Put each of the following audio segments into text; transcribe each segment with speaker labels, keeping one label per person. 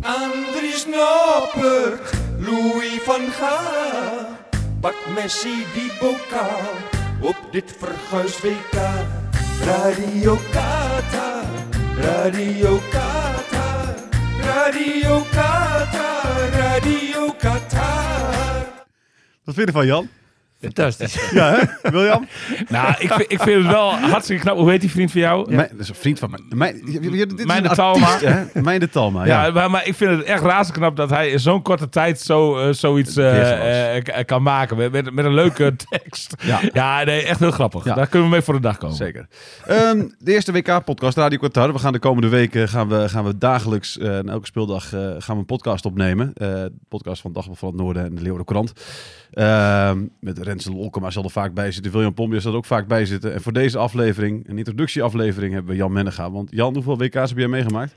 Speaker 1: Andries Noppert, Louis van Gaal. Pak Messi die bokaal op dit verguisd WK. Radio Qatar, Radio Qatar, Radio Qatar, Radio Qatar.
Speaker 2: Wat vind je ervan, Jan?
Speaker 3: Fantastisch.
Speaker 2: Ja, hè? William?
Speaker 3: nou, ik vind, ik vind het wel hartstikke knap. Hoe heet die vriend van jou?
Speaker 2: Mijn, dat is een vriend van mij. Mijn, je- je- dit is
Speaker 3: Mijn
Speaker 2: een
Speaker 3: de
Speaker 2: artiest,
Speaker 3: Talma.
Speaker 2: hè? Mijn de Talma, ja.
Speaker 3: Ja, maar, maar ik vind het echt razend knap dat hij in zo'n korte tijd zo, eh, zoiets eh,
Speaker 2: Weergeloos.
Speaker 3: eh, k- eh, kan maken. Met, met, met een leuke tekst.
Speaker 2: Ja.
Speaker 3: Ja, nee, echt heel grappig.
Speaker 2: Ja.
Speaker 3: Daar kunnen we mee voor de dag komen.
Speaker 2: Zeker. Ehm, de eerste WK-podcast, Radio Qatar. We gaan de komende weken gaan we, gaan we dagelijks, eh, na elke speeldag, eh, gaan we een podcast opnemen. Eh, de podcast van Dagblad van het Noorden en de Leeuwarden Courant. Ehm, met Rensen Lolkema zal er vaak bij zitten. William Pombia zal er ook vaak bij zitten. En voor deze aflevering, een introductieaflevering, hebben we Jan Mennega. Want Jan, hoeveel WK's heb jij meegemaakt?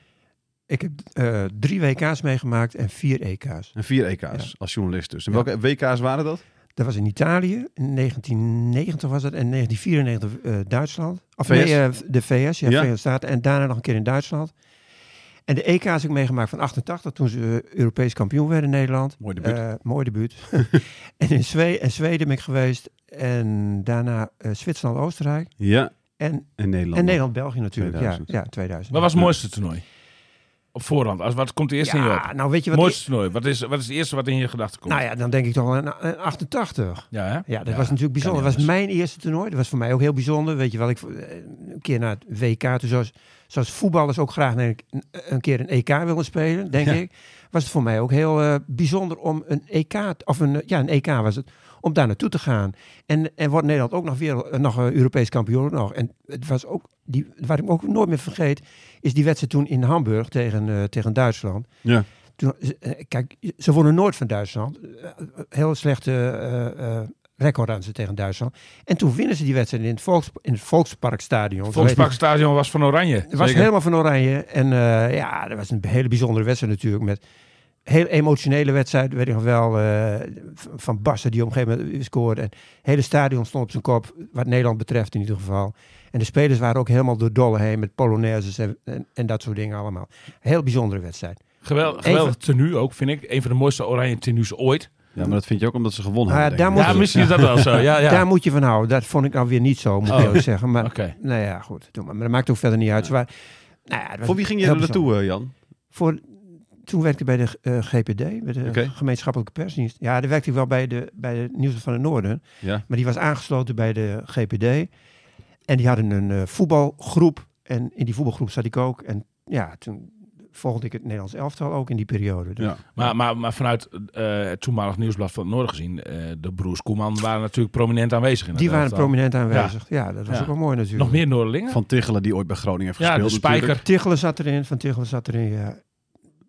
Speaker 4: Ik heb eh, drie WK's meegemaakt en vier E EK's.
Speaker 2: En vier EK's als journalist dus. En welke WK's waren dat?
Speaker 4: Dat was in Italië, in 1990 was dat, en 1994 eh, Duitsland. Of
Speaker 2: VS?
Speaker 4: nee, eh, de VS, ja,
Speaker 2: Ja.
Speaker 4: Verenigde Staten. En daarna nog een keer in Duitsland. En de EK's heb ik meegemaakt van 88, toen ze eh, Europees kampioen werden in Nederland.
Speaker 2: Mooi debuut.
Speaker 4: Eh, mooi debuut. en in Zwe en Zweden ben ik geweest. En daarna eh, Zwitserland, Oostenrijk.
Speaker 2: Ja,
Speaker 4: En,
Speaker 2: en Nederland.
Speaker 4: en Nederland, België natuurlijk.
Speaker 2: 2000.
Speaker 4: Ja, ja, 2000.
Speaker 3: Wat was het mooiste toernooi? Op voorhand. Als, wat komt er eerst in je op?
Speaker 4: ja, nou weet je wat...
Speaker 3: mooiste toernooi. Wat is, wat is het eerste wat in je gedachten komt?
Speaker 4: Nou ja, dan denk ik toch wel aan aan 88.
Speaker 3: ja, hè?
Speaker 4: Ja, dat was natuurlijk
Speaker 3: kan
Speaker 4: bijzonder.
Speaker 3: niet
Speaker 4: Dat was mijn eerste toernooi. Dat was voor mij ook heel bijzonder. Weet je wel, ik eh, een keer naar het WK, toen zoals, zoals voetballers ook graag een, een keer een EK willen spelen, denk ik. Was het voor mij ook heel eh, bijzonder om een EK, t- of een, eh, ja, een EK was het, om daar naartoe te gaan. En, en wordt Nederland ook nog weer eh, nog eh, Europees kampioen nog. En het was ook, die, wat ik me ook nooit meer vergeet, is die wedstrijd toen in Hamburg tegen, eh, tegen Duitsland.
Speaker 2: Ja.
Speaker 4: Toen, eh, kijk, ze wonnen nooit van Duitsland. Eh, Heel slechte eh, eh, record aan ze tegen Duitsland. En toen winnen ze die wedstrijd in het, Volks, in het Volksparkstadion.
Speaker 3: Volksparkstadion was van Oranje.
Speaker 4: Het was
Speaker 2: Zeker.
Speaker 4: helemaal van oranje. En eh, ja, dat was een hele bijzondere wedstrijd natuurlijk. Met heel emotionele wedstrijd, weet ik nog wel. eh, v- van Basten die op een gegeven moment scoorde. En het hele stadion stond op zijn kop, wat Nederland betreft in ieder geval. En de spelers waren ook helemaal door dolle heen met polonaises en, en, en dat soort dingen allemaal. Heel bijzondere wedstrijd.
Speaker 3: Geweldig,
Speaker 4: Even-
Speaker 3: geweldig tenue ook, vind ik. Een van de mooiste Oranje tenues ooit.
Speaker 2: Ja, maar dat vind je ook omdat ze gewonnen
Speaker 4: Ah,
Speaker 2: hebben.
Speaker 4: daar
Speaker 2: denk ik.
Speaker 3: Ja, misschien is dat wel zo. Ja, ja.
Speaker 4: Daar moet je van houden. Dat vond ik nou weer niet zo, moet ik
Speaker 3: Oh.
Speaker 4: eerlijk zeggen. Maar
Speaker 3: Oké.
Speaker 4: nou ja, goed. doe maar. Maar dat maakt ook verder niet uit. Ze waren- nou ja, het was
Speaker 2: Voor wie ging je
Speaker 4: heel
Speaker 2: er
Speaker 4: bijzonder.
Speaker 2: naartoe, eh, Jan?
Speaker 4: Voor, toen werkte ik bij de eh, GPD, bij de
Speaker 2: Oké.
Speaker 4: gemeenschappelijke persdienst. Ja, daar werkte ik wel bij de, bij de Nieuws van het Noorden.
Speaker 2: Ja.
Speaker 4: Maar die was aangesloten bij de GPD. En die hadden een eh, voetbalgroep. En in die voetbalgroep zat ik ook. En ja, toen volgde ik het Nederlands elftal ook in die periode. Dus
Speaker 2: Ja.
Speaker 3: Maar, maar, maar vanuit eh, het toenmalig nieuwsblad van het Noorden gezien, eh, de broers Koeman waren natuurlijk prominent aanwezig. In
Speaker 4: Die
Speaker 3: het
Speaker 4: waren
Speaker 3: elftal.
Speaker 4: prominent aanwezig. Ja, dat was
Speaker 3: Ja.
Speaker 4: ook wel mooi natuurlijk.
Speaker 3: Nog meer Noorderlingen?
Speaker 2: Van Tichelen, die ooit bij Groningen heeft
Speaker 3: ja, de
Speaker 2: gespeeld.
Speaker 3: Spijker.
Speaker 4: Tichelen zat erin, Van Tichelen zat erin. Ja.
Speaker 2: natuurlijk.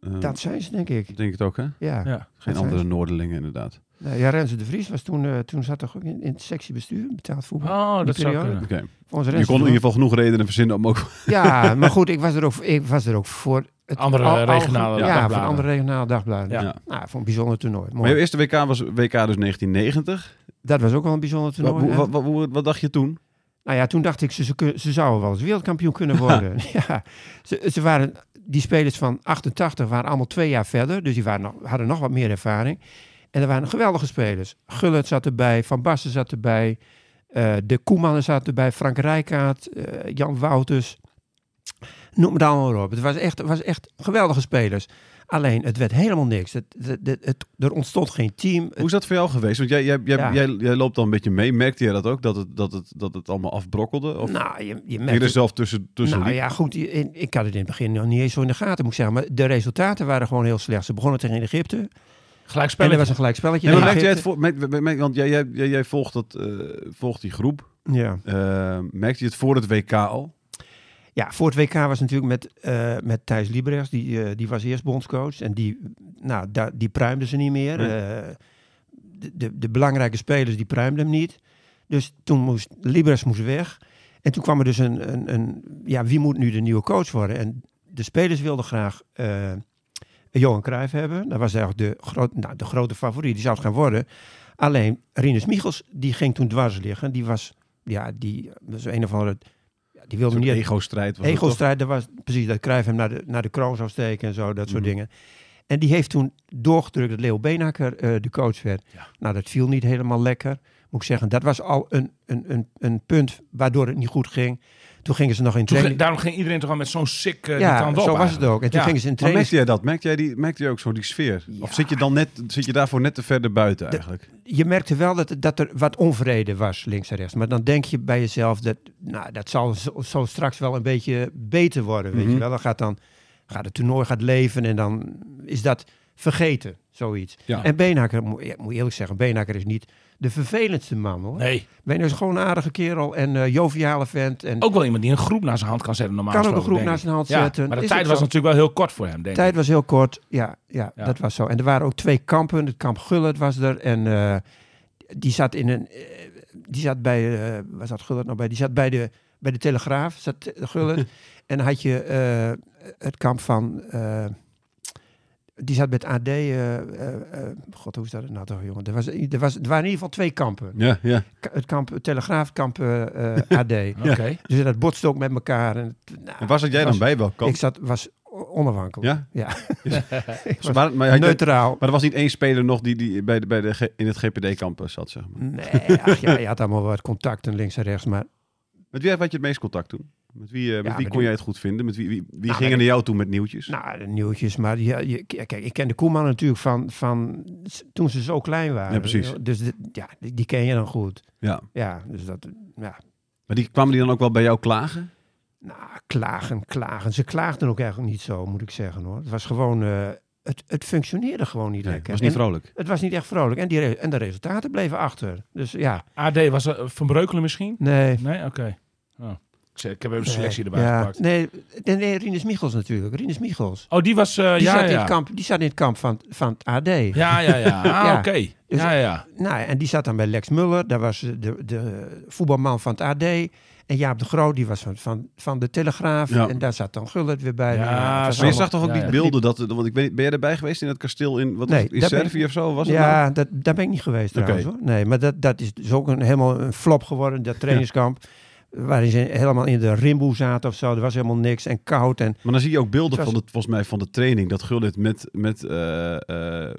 Speaker 2: Eh,
Speaker 4: Dat zijn ze, denk ik.
Speaker 2: Ik denk het ook, hè?
Speaker 4: Ja.
Speaker 3: Ja.
Speaker 2: Geen
Speaker 4: zijn
Speaker 2: andere Noorderlingen, inderdaad.
Speaker 4: Nou, ja, Renze de Vries was toen, eh, toen zat er ook in, in het sectiebestuur, betaald voetbal.
Speaker 3: Oh,
Speaker 4: Die
Speaker 3: dat zou
Speaker 4: periode.
Speaker 3: kunnen.
Speaker 2: Oké.
Speaker 4: Volgens
Speaker 2: Je
Speaker 4: Renze
Speaker 2: kon in
Speaker 4: de
Speaker 2: ieder geval genoeg redenen verzinnen om ook...
Speaker 4: Vries- Ja, maar goed, ik was er ook, ik was er ook voor. Het
Speaker 3: Andere regionale
Speaker 4: ja,
Speaker 3: dagbladen.
Speaker 4: Ja, voor andere regionale dagbladen.
Speaker 3: Ja.
Speaker 2: Ja.
Speaker 4: Nou, voor een bijzonder toernooi.
Speaker 2: Maar
Speaker 4: Mooi.
Speaker 2: je eerste WK was WK dus 1990.
Speaker 4: Dat was ook wel een bijzonder
Speaker 2: Wat,
Speaker 4: toernooi. hè?
Speaker 2: wat, wat, wat- wat dacht je toen?
Speaker 4: Nou ja, toen dacht ik, ze, ze, kun- ze zouden wel eens wereldkampioen kunnen worden. ja. ze, ze waren, die spelers van 88 waren allemaal twee jaar verder. Dus die waren nog, hadden nog wat meer ervaring. En er waren geweldige spelers. Gullit zat erbij, Van Basten zat erbij. eh, de Koemannen zat erbij, Frank Rijkaard, eh, Jan Wouters. Noem het allemaal maar op. Het was echt, het was echt geweldige spelers. Alleen, het werd helemaal niks. Het, het, het, het- er ontstond geen team.
Speaker 2: Hoe is dat voor jou geweest? Want jij, jij, jij,
Speaker 4: Ja.
Speaker 2: jij, jij loopt dan een beetje mee. Merkte jij dat ook? Dat het, dat het, dat het allemaal afbrokkelde? Of
Speaker 4: nou, je, je
Speaker 2: ging je
Speaker 4: merkt
Speaker 2: er zelf tussen, tussen
Speaker 4: Nou
Speaker 2: liep?
Speaker 4: ja, goed. i- in- Ik had het in het begin nog niet eens zo in de gaten, moet ik zeggen. Maar de resultaten waren gewoon heel slecht. Ze begonnen tegen Egypte.
Speaker 3: Gelijk
Speaker 4: En er
Speaker 3: spelen.
Speaker 4: was een gelijkspelletje.
Speaker 2: Nee, maar merkte
Speaker 4: tegen
Speaker 2: jij het
Speaker 4: Egypte.
Speaker 2: voor, merk- merk- merk- want jij, jij, jij, jij volgt, dat, eh, volgt die groep.
Speaker 4: Ja.
Speaker 2: Eh, merkte je het voor het WK al?
Speaker 4: ja, voor het WK was natuurlijk met, eh, met Thijs Liebrechts. Die, eh, die was eerst bondscoach. En die, nou, da- die pruimden ze niet meer. Eh, de, de, de belangrijke spelers die pruimden hem niet. Dus toen moest Libres moest weg. En toen kwam er dus een, een, een ja, wie moet nu de nieuwe coach worden? En de spelers wilden graag eh, Johan Cruijff hebben. Dat was eigenlijk de, groot, nou, de grote favoriet. Die zou het gaan worden. Alleen Rinus Michels, die ging toen dwars liggen. Die was, ja, die was een of andere... ja, Die wilde niet...
Speaker 2: ego-strijd. was het toch?
Speaker 4: Ego-strijd, dat was precies dat Cruijff hem naar de, naar de kroon zou steken en zo, dat soort
Speaker 2: Mhm.
Speaker 4: dingen. En die heeft toen doorgedrukt dat Leo Beenhakker eh, de coach werd. Nou, dat viel niet helemaal lekker, moet ik zeggen. Dat was al een, een, een, een punt waardoor het niet goed ging. Toen gingen ze nog in
Speaker 3: Toen ging-
Speaker 4: training.
Speaker 3: daarom ging iedereen toch al met zo'n sick eh, die
Speaker 4: ja,
Speaker 3: kant op.
Speaker 4: zo was het
Speaker 3: eigenlijk.
Speaker 4: ook. En toen
Speaker 3: Ja.
Speaker 4: gingen ze in
Speaker 2: Maar
Speaker 4: training.
Speaker 2: merkte jij dat? Merkte jij, die, merkte jij ook zo die sfeer? Of zit je, dan net, zit je daarvoor net te verder buiten eigenlijk?
Speaker 4: je merkte wel dat, dat er wat onvrede was, links en rechts. Maar dan denk je bij jezelf, dat, nou, dat zal zo, zo straks wel een beetje beter worden. Weet
Speaker 2: Mhm.
Speaker 4: je wel, dan gaat, dan gaat het toernooi gaat leven en dan is dat vergeten, zoiets.
Speaker 2: Ja.
Speaker 4: En Beenhakker, moet, ja, moet eerlijk zeggen, Beenhakker is niet de vervelendste man hoor.
Speaker 3: Nee,
Speaker 4: Beenhakker is gewoon een aardige kerel en eh, joviale vent. En
Speaker 3: ook wel iemand die een groep naar zijn hand kan zetten normaal
Speaker 4: kan ook een
Speaker 3: gesproken,
Speaker 4: groep
Speaker 3: denk
Speaker 4: naar
Speaker 3: ik.
Speaker 4: zijn hand
Speaker 3: Ja,
Speaker 4: zetten.
Speaker 3: Maar de
Speaker 4: Is
Speaker 3: tijd
Speaker 4: ook
Speaker 3: was
Speaker 4: zo.
Speaker 3: natuurlijk wel heel kort voor hem,
Speaker 4: De
Speaker 3: denk
Speaker 4: tijd
Speaker 3: ik.
Speaker 4: was heel kort. Ja, ja,
Speaker 3: Ja.
Speaker 4: dat was zo. En er waren ook twee kampen. Het kamp Gullet was er. En eh, die zat in een. eh, die zat bij. eh, waar zat Gullet nou bij? Die zat bij de, bij de Telegraaf. Zat Te- Gullit. en dan had je eh, het kamp van. eh, die zat bij het AD. eh, eh, eh, God, hoe is dat nou toch, jongen? Er, was, er, was, er waren in ieder geval twee kampen.
Speaker 2: Ja, ja.
Speaker 4: K- Het kamp het Telegraaf, het kamp eh, eh, AD.
Speaker 3: Oké.
Speaker 4: Dus dat botste ook met elkaar. En, het- nou,
Speaker 2: En waar zat jij dan
Speaker 4: was-
Speaker 2: bij? Welk
Speaker 4: Ik
Speaker 2: kant?
Speaker 4: zat, was o- onafhankelijk.
Speaker 2: Ja?
Speaker 4: Ja.
Speaker 2: Dus waar- maar, had je-
Speaker 4: Neutraal.
Speaker 2: maar er was niet één speler nog die, die bij de, bij de, G- in het GPD-campus zat, zeg maar.
Speaker 4: Nee, ach, ja, je had allemaal wat contacten links en rechts. Maar
Speaker 2: Met wie had je het meest contact toen? Met wie, eh, met
Speaker 4: Ja,
Speaker 2: wie
Speaker 4: met
Speaker 2: kon
Speaker 4: die-
Speaker 2: jij het goed vinden? Met wie, wie, wie
Speaker 4: Nou,
Speaker 2: gingen
Speaker 4: met-
Speaker 2: naar jou toe met nieuwtjes?
Speaker 4: nou, de nieuwtjes. Maar ja, je, k- kijk, ik ken de Koeman natuurlijk van, van s- toen ze zo klein waren.
Speaker 2: Ja, precies.
Speaker 4: Dus dit- ja, die, die ken je dan goed.
Speaker 2: ja.
Speaker 4: Ja, dus dat, ja.
Speaker 2: Maar die, kwamen die dan ook wel bij jou klagen?
Speaker 4: Nou, klagen, klagen. Ze klaagden ook eigenlijk niet zo, moet ik zeggen hoor. Het was gewoon, eh, het, het functioneerde gewoon niet
Speaker 2: Nee,
Speaker 4: lekker.
Speaker 2: was niet
Speaker 4: En
Speaker 2: vrolijk.
Speaker 4: het was niet echt vrolijk. En, die re- en de resultaten bleven achter. Dus ja,
Speaker 3: AD was er, eh, Van Breukelen misschien?
Speaker 4: nee.
Speaker 3: Nee, oké. Oh. Ik zeg, Ik heb even een selectie
Speaker 4: Nee,
Speaker 3: erbij
Speaker 4: ja.
Speaker 3: gepakt.
Speaker 4: Nee, nee, nee, Rinus Michels natuurlijk. Rinus Michels.
Speaker 3: Oh, die was... eh,
Speaker 4: Die,
Speaker 3: ja,
Speaker 4: zat In
Speaker 3: ja.
Speaker 4: het kamp, die zat in het kamp van, van het AD.
Speaker 3: ja, ja, ja. Ah,
Speaker 4: Ja.
Speaker 3: oké.
Speaker 4: Dus-
Speaker 3: Ja, ja.
Speaker 4: Nou, en die zat dan bij Lex Muller, daar was eh, de, de voetbalman van het AD. En Jaap de Groot, die was van, van, van de Telegraaf.
Speaker 2: Ja.
Speaker 4: En daar zat dan Gullit weer bij.
Speaker 3: Ja,
Speaker 4: Nou, het was
Speaker 3: maar je
Speaker 2: Maar je
Speaker 4: allemaal-
Speaker 2: zag toch ook
Speaker 3: Ja,
Speaker 2: die
Speaker 3: ja.
Speaker 2: beelden? Dat, want ik weet, ben jij erbij geweest in dat kasteel in, wat was
Speaker 4: Nee,
Speaker 2: het, in
Speaker 4: daar ben ik-
Speaker 2: Servië of zo? Was het nou?
Speaker 4: ja, dat, daar ben ik niet geweest
Speaker 2: Oké.
Speaker 4: trouwens hoor. Nee, maar dat, dat is dus ook een, helemaal een flop geworden, dat trainingskamp. Waarin ze helemaal in de rimboe zaten of zo. Er was helemaal niks en koud. En
Speaker 2: Maar dan zie je ook beelden
Speaker 4: Het was-
Speaker 2: van, het, volgens mij, van de training. Dat Gullit met, met eh, eh,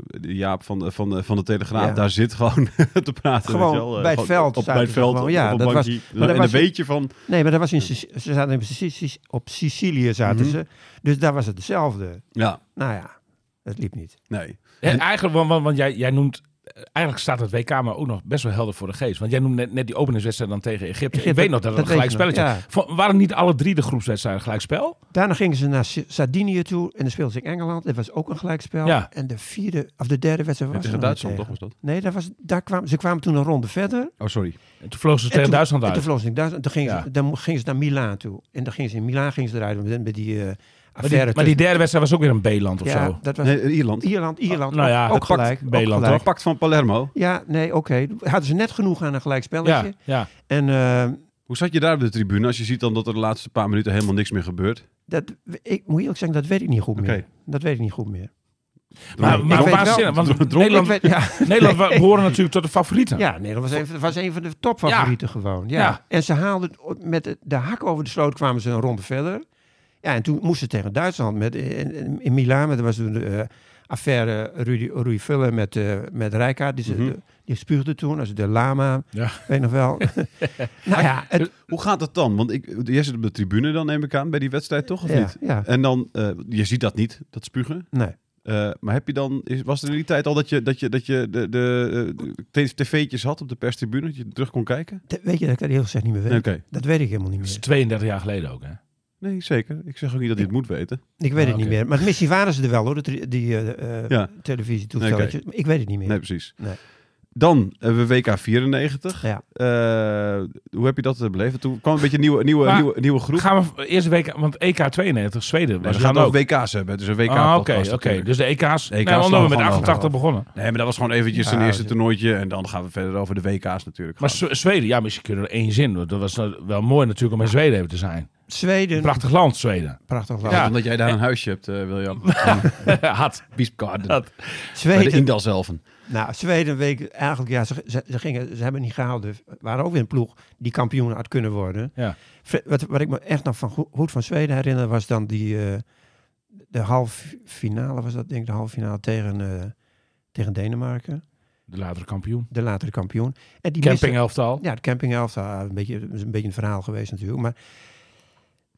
Speaker 2: de Jaap van de, van de, van de Telegraaf
Speaker 4: Ja.
Speaker 2: daar zit gewoon te praten.
Speaker 4: Gewoon
Speaker 2: weet je wel. Eh,
Speaker 4: bij het
Speaker 2: gewoon
Speaker 4: veld
Speaker 2: Op, bij
Speaker 4: zaten
Speaker 2: het
Speaker 4: ze
Speaker 2: veld,
Speaker 4: gewoon.
Speaker 2: ja,
Speaker 4: Ja,
Speaker 2: op een
Speaker 4: dat was-
Speaker 2: bankje. Nou,
Speaker 4: maar dat
Speaker 2: en dan
Speaker 4: was-
Speaker 2: weet je van...
Speaker 4: nee, maar dat was in, Sic- ze zaten in Sicilië, op Sicilië zaten
Speaker 2: Mhm.
Speaker 4: ze. Dus daar was het hetzelfde.
Speaker 2: Ja,
Speaker 4: Nou ja, het liep niet.
Speaker 2: nee.
Speaker 3: En eigenlijk, want, want, want jij, jij noemt... Eigenlijk staat het WK maar ook nog best wel helder voor de geest. Want jij noemt net, net die openingswedstrijd dan tegen Egypte. Ik
Speaker 4: Egypte,
Speaker 3: weet nog dat het
Speaker 4: dat
Speaker 3: een gelijk
Speaker 4: weet je nog,
Speaker 3: spelletje Van- Waren niet alle drie de groepswedstrijden gelijk spel?
Speaker 4: Daarna gingen ze naar S- Sardinië toe en dan speelden ze in Engeland. Dat was ook een gelijkspel.
Speaker 3: Ja.
Speaker 4: En de vierde of de derde wedstrijd was
Speaker 2: Tegen
Speaker 4: er nog niet
Speaker 2: Duitsland toch
Speaker 4: tegen.
Speaker 2: was dat?
Speaker 4: Nee, daar was, daar kwamen, ze kwamen toen een ronde verder. En
Speaker 2: Oh, sorry.
Speaker 3: En toen vlogen ze tegen
Speaker 4: toen-
Speaker 3: Duitsland
Speaker 4: En toen
Speaker 3: uit.
Speaker 4: vlogen ze in Duitsland. Dan gingen,
Speaker 3: Ja.
Speaker 4: ze, dan mo- gingen ze naar Milaan toe. En dan gingen ze in Milaan gingen ze eruit met, met die eh,
Speaker 3: Maar die,
Speaker 4: affaire.
Speaker 3: maar die derde wedstrijd was ook weer een B-land of
Speaker 4: tussen- ja,
Speaker 3: zo.
Speaker 4: dat was
Speaker 2: Nee, in Ierland.
Speaker 4: Ierland, Ierland.
Speaker 3: nou ja,
Speaker 4: ook,
Speaker 3: dat
Speaker 4: ook
Speaker 3: pakt
Speaker 4: gelijk. ook
Speaker 3: Beeland,
Speaker 4: gelijk.
Speaker 2: Pakt van Palermo.
Speaker 4: Ja, nee, oké. Hadden ze net genoeg aan een gelijkspelletje.
Speaker 3: Ja, ja.
Speaker 4: En eh,
Speaker 2: Hoe zat je daar op de tribune als je ziet dan dat er de laatste paar minuten helemaal niks meer gebeurt?
Speaker 4: dat, ik moet eerlijk zeggen, dat weet ik niet goed
Speaker 2: Oké.
Speaker 4: meer. Dat weet ik niet goed meer.
Speaker 3: Maar,
Speaker 4: Ik
Speaker 3: maar
Speaker 4: weet
Speaker 3: waanzinnig,
Speaker 4: wel-
Speaker 3: want
Speaker 4: Ik
Speaker 3: Nederland,
Speaker 4: weet, ja.
Speaker 3: Nederland wa- behoren natuurlijk tot de favorieten.
Speaker 4: Ja, nee, dat was een, was een van de topfavorieten gewoon. Ja.
Speaker 3: Ja.
Speaker 4: En ze haalden het op- met de, de hak over de sloot kwamen ze een ronde verder. Ja, en toen moesten ze tegen Duitsland met, in, in- in Milaan. maar Er was toen de eh, affaire Rudy, Rudy Vuller met, eh met Rijkaard. Die, ze-
Speaker 2: Mhm.
Speaker 4: de- die spuugde toen, als de lama.
Speaker 3: Ja.
Speaker 4: Weet nog wel. nou ja, het,
Speaker 2: Hoe gaat dat dan? Want ik, jij zit op de tribune dan, neem ik aan, bij die wedstrijd toch? Of
Speaker 4: ja,
Speaker 2: niet?
Speaker 4: ja,
Speaker 2: En dan, eh, je ziet dat niet, dat spugen.
Speaker 4: nee.
Speaker 2: Eh, maar heb je dan, is, was er in die tijd al dat je, dat je, dat je de, de, eh, de tv'tjes had op de perstribune, dat je terug kon kijken?
Speaker 4: Dat- weet je dat ik dat heel gezegd niet meer weet?
Speaker 2: Nee, Oké.
Speaker 4: Dat weet ik helemaal niet
Speaker 3: Dat is
Speaker 4: meer.
Speaker 3: 32 jaar geleden ook, hè?
Speaker 2: Nee, zeker. Ik zeg ook niet dat je het moet weten.
Speaker 4: Ik weet
Speaker 3: Ah,
Speaker 4: het niet
Speaker 3: oké.
Speaker 4: meer. Maar misschien waren ze er wel hoor, die, die eh eh,
Speaker 2: Ja.
Speaker 4: televisietoestelletjes. Maar Ik weet het niet meer.
Speaker 2: Nee, precies.
Speaker 4: Nee.
Speaker 2: Dan hebben we WK 94.
Speaker 4: Ja.
Speaker 2: Eh, hoe heb je dat eh, beleefd? Toen kwam een beetje een nieuwe, nieuwe,
Speaker 3: Maar-
Speaker 2: nieuwe, nieuwe groep.
Speaker 3: Gaan we eerst de WK, want EK 92, Zweden.
Speaker 2: Nee,
Speaker 3: we
Speaker 2: we
Speaker 3: gaan
Speaker 2: gaan ook
Speaker 3: ook.
Speaker 2: WK's hebben, dus een WK.
Speaker 3: Ah,
Speaker 2: podcast
Speaker 3: oké, oké.
Speaker 2: natuurlijk.
Speaker 3: Dus de EK's.
Speaker 2: De EK's
Speaker 3: nee, want
Speaker 2: slaan
Speaker 3: we
Speaker 2: we
Speaker 3: met
Speaker 2: gewoon
Speaker 3: 88 begonnen.
Speaker 2: Nee, maar dat was gewoon eventjes een
Speaker 4: Ja,
Speaker 2: eerste
Speaker 4: dat-
Speaker 2: toernooitje. En dan gaan we verder over de WK's natuurlijk.
Speaker 3: Maar
Speaker 2: gaan.
Speaker 3: Zwe- Zweden, ja, misschien kun je er één zin. want Dat was nou wel mooi natuurlijk om in Zweden even te zijn.
Speaker 4: Zweden.
Speaker 3: Prachtig land, Zweden.
Speaker 4: Prachtig land.
Speaker 3: Ja.
Speaker 2: Omdat jij daar een huisje hebt, eh, William.
Speaker 3: Had.
Speaker 2: Biesgarden.
Speaker 3: Dat.
Speaker 2: Bij de
Speaker 4: Zweden.
Speaker 2: Indalselven.
Speaker 4: Nou, Zweden week eigenlijk, ja, ze, ze, ze gingen, ze hebben niet gehaald. dus Er waren ook weer een ploeg die kampioen had kunnen worden.
Speaker 3: Ja.
Speaker 4: Fre- Wat, wat ik me echt nog van goed, goed van Zweden herinner, was dan die eh, de halve finale, was dat denk ik, de halve finale tegen, eh, tegen Denemarken.
Speaker 3: De latere kampioen.
Speaker 4: De latere kampioen. En die miste-
Speaker 3: Campinghelftal.
Speaker 4: ja, de campinghelft, ah, een beetje, is een beetje een verhaal geweest natuurlijk. Maar,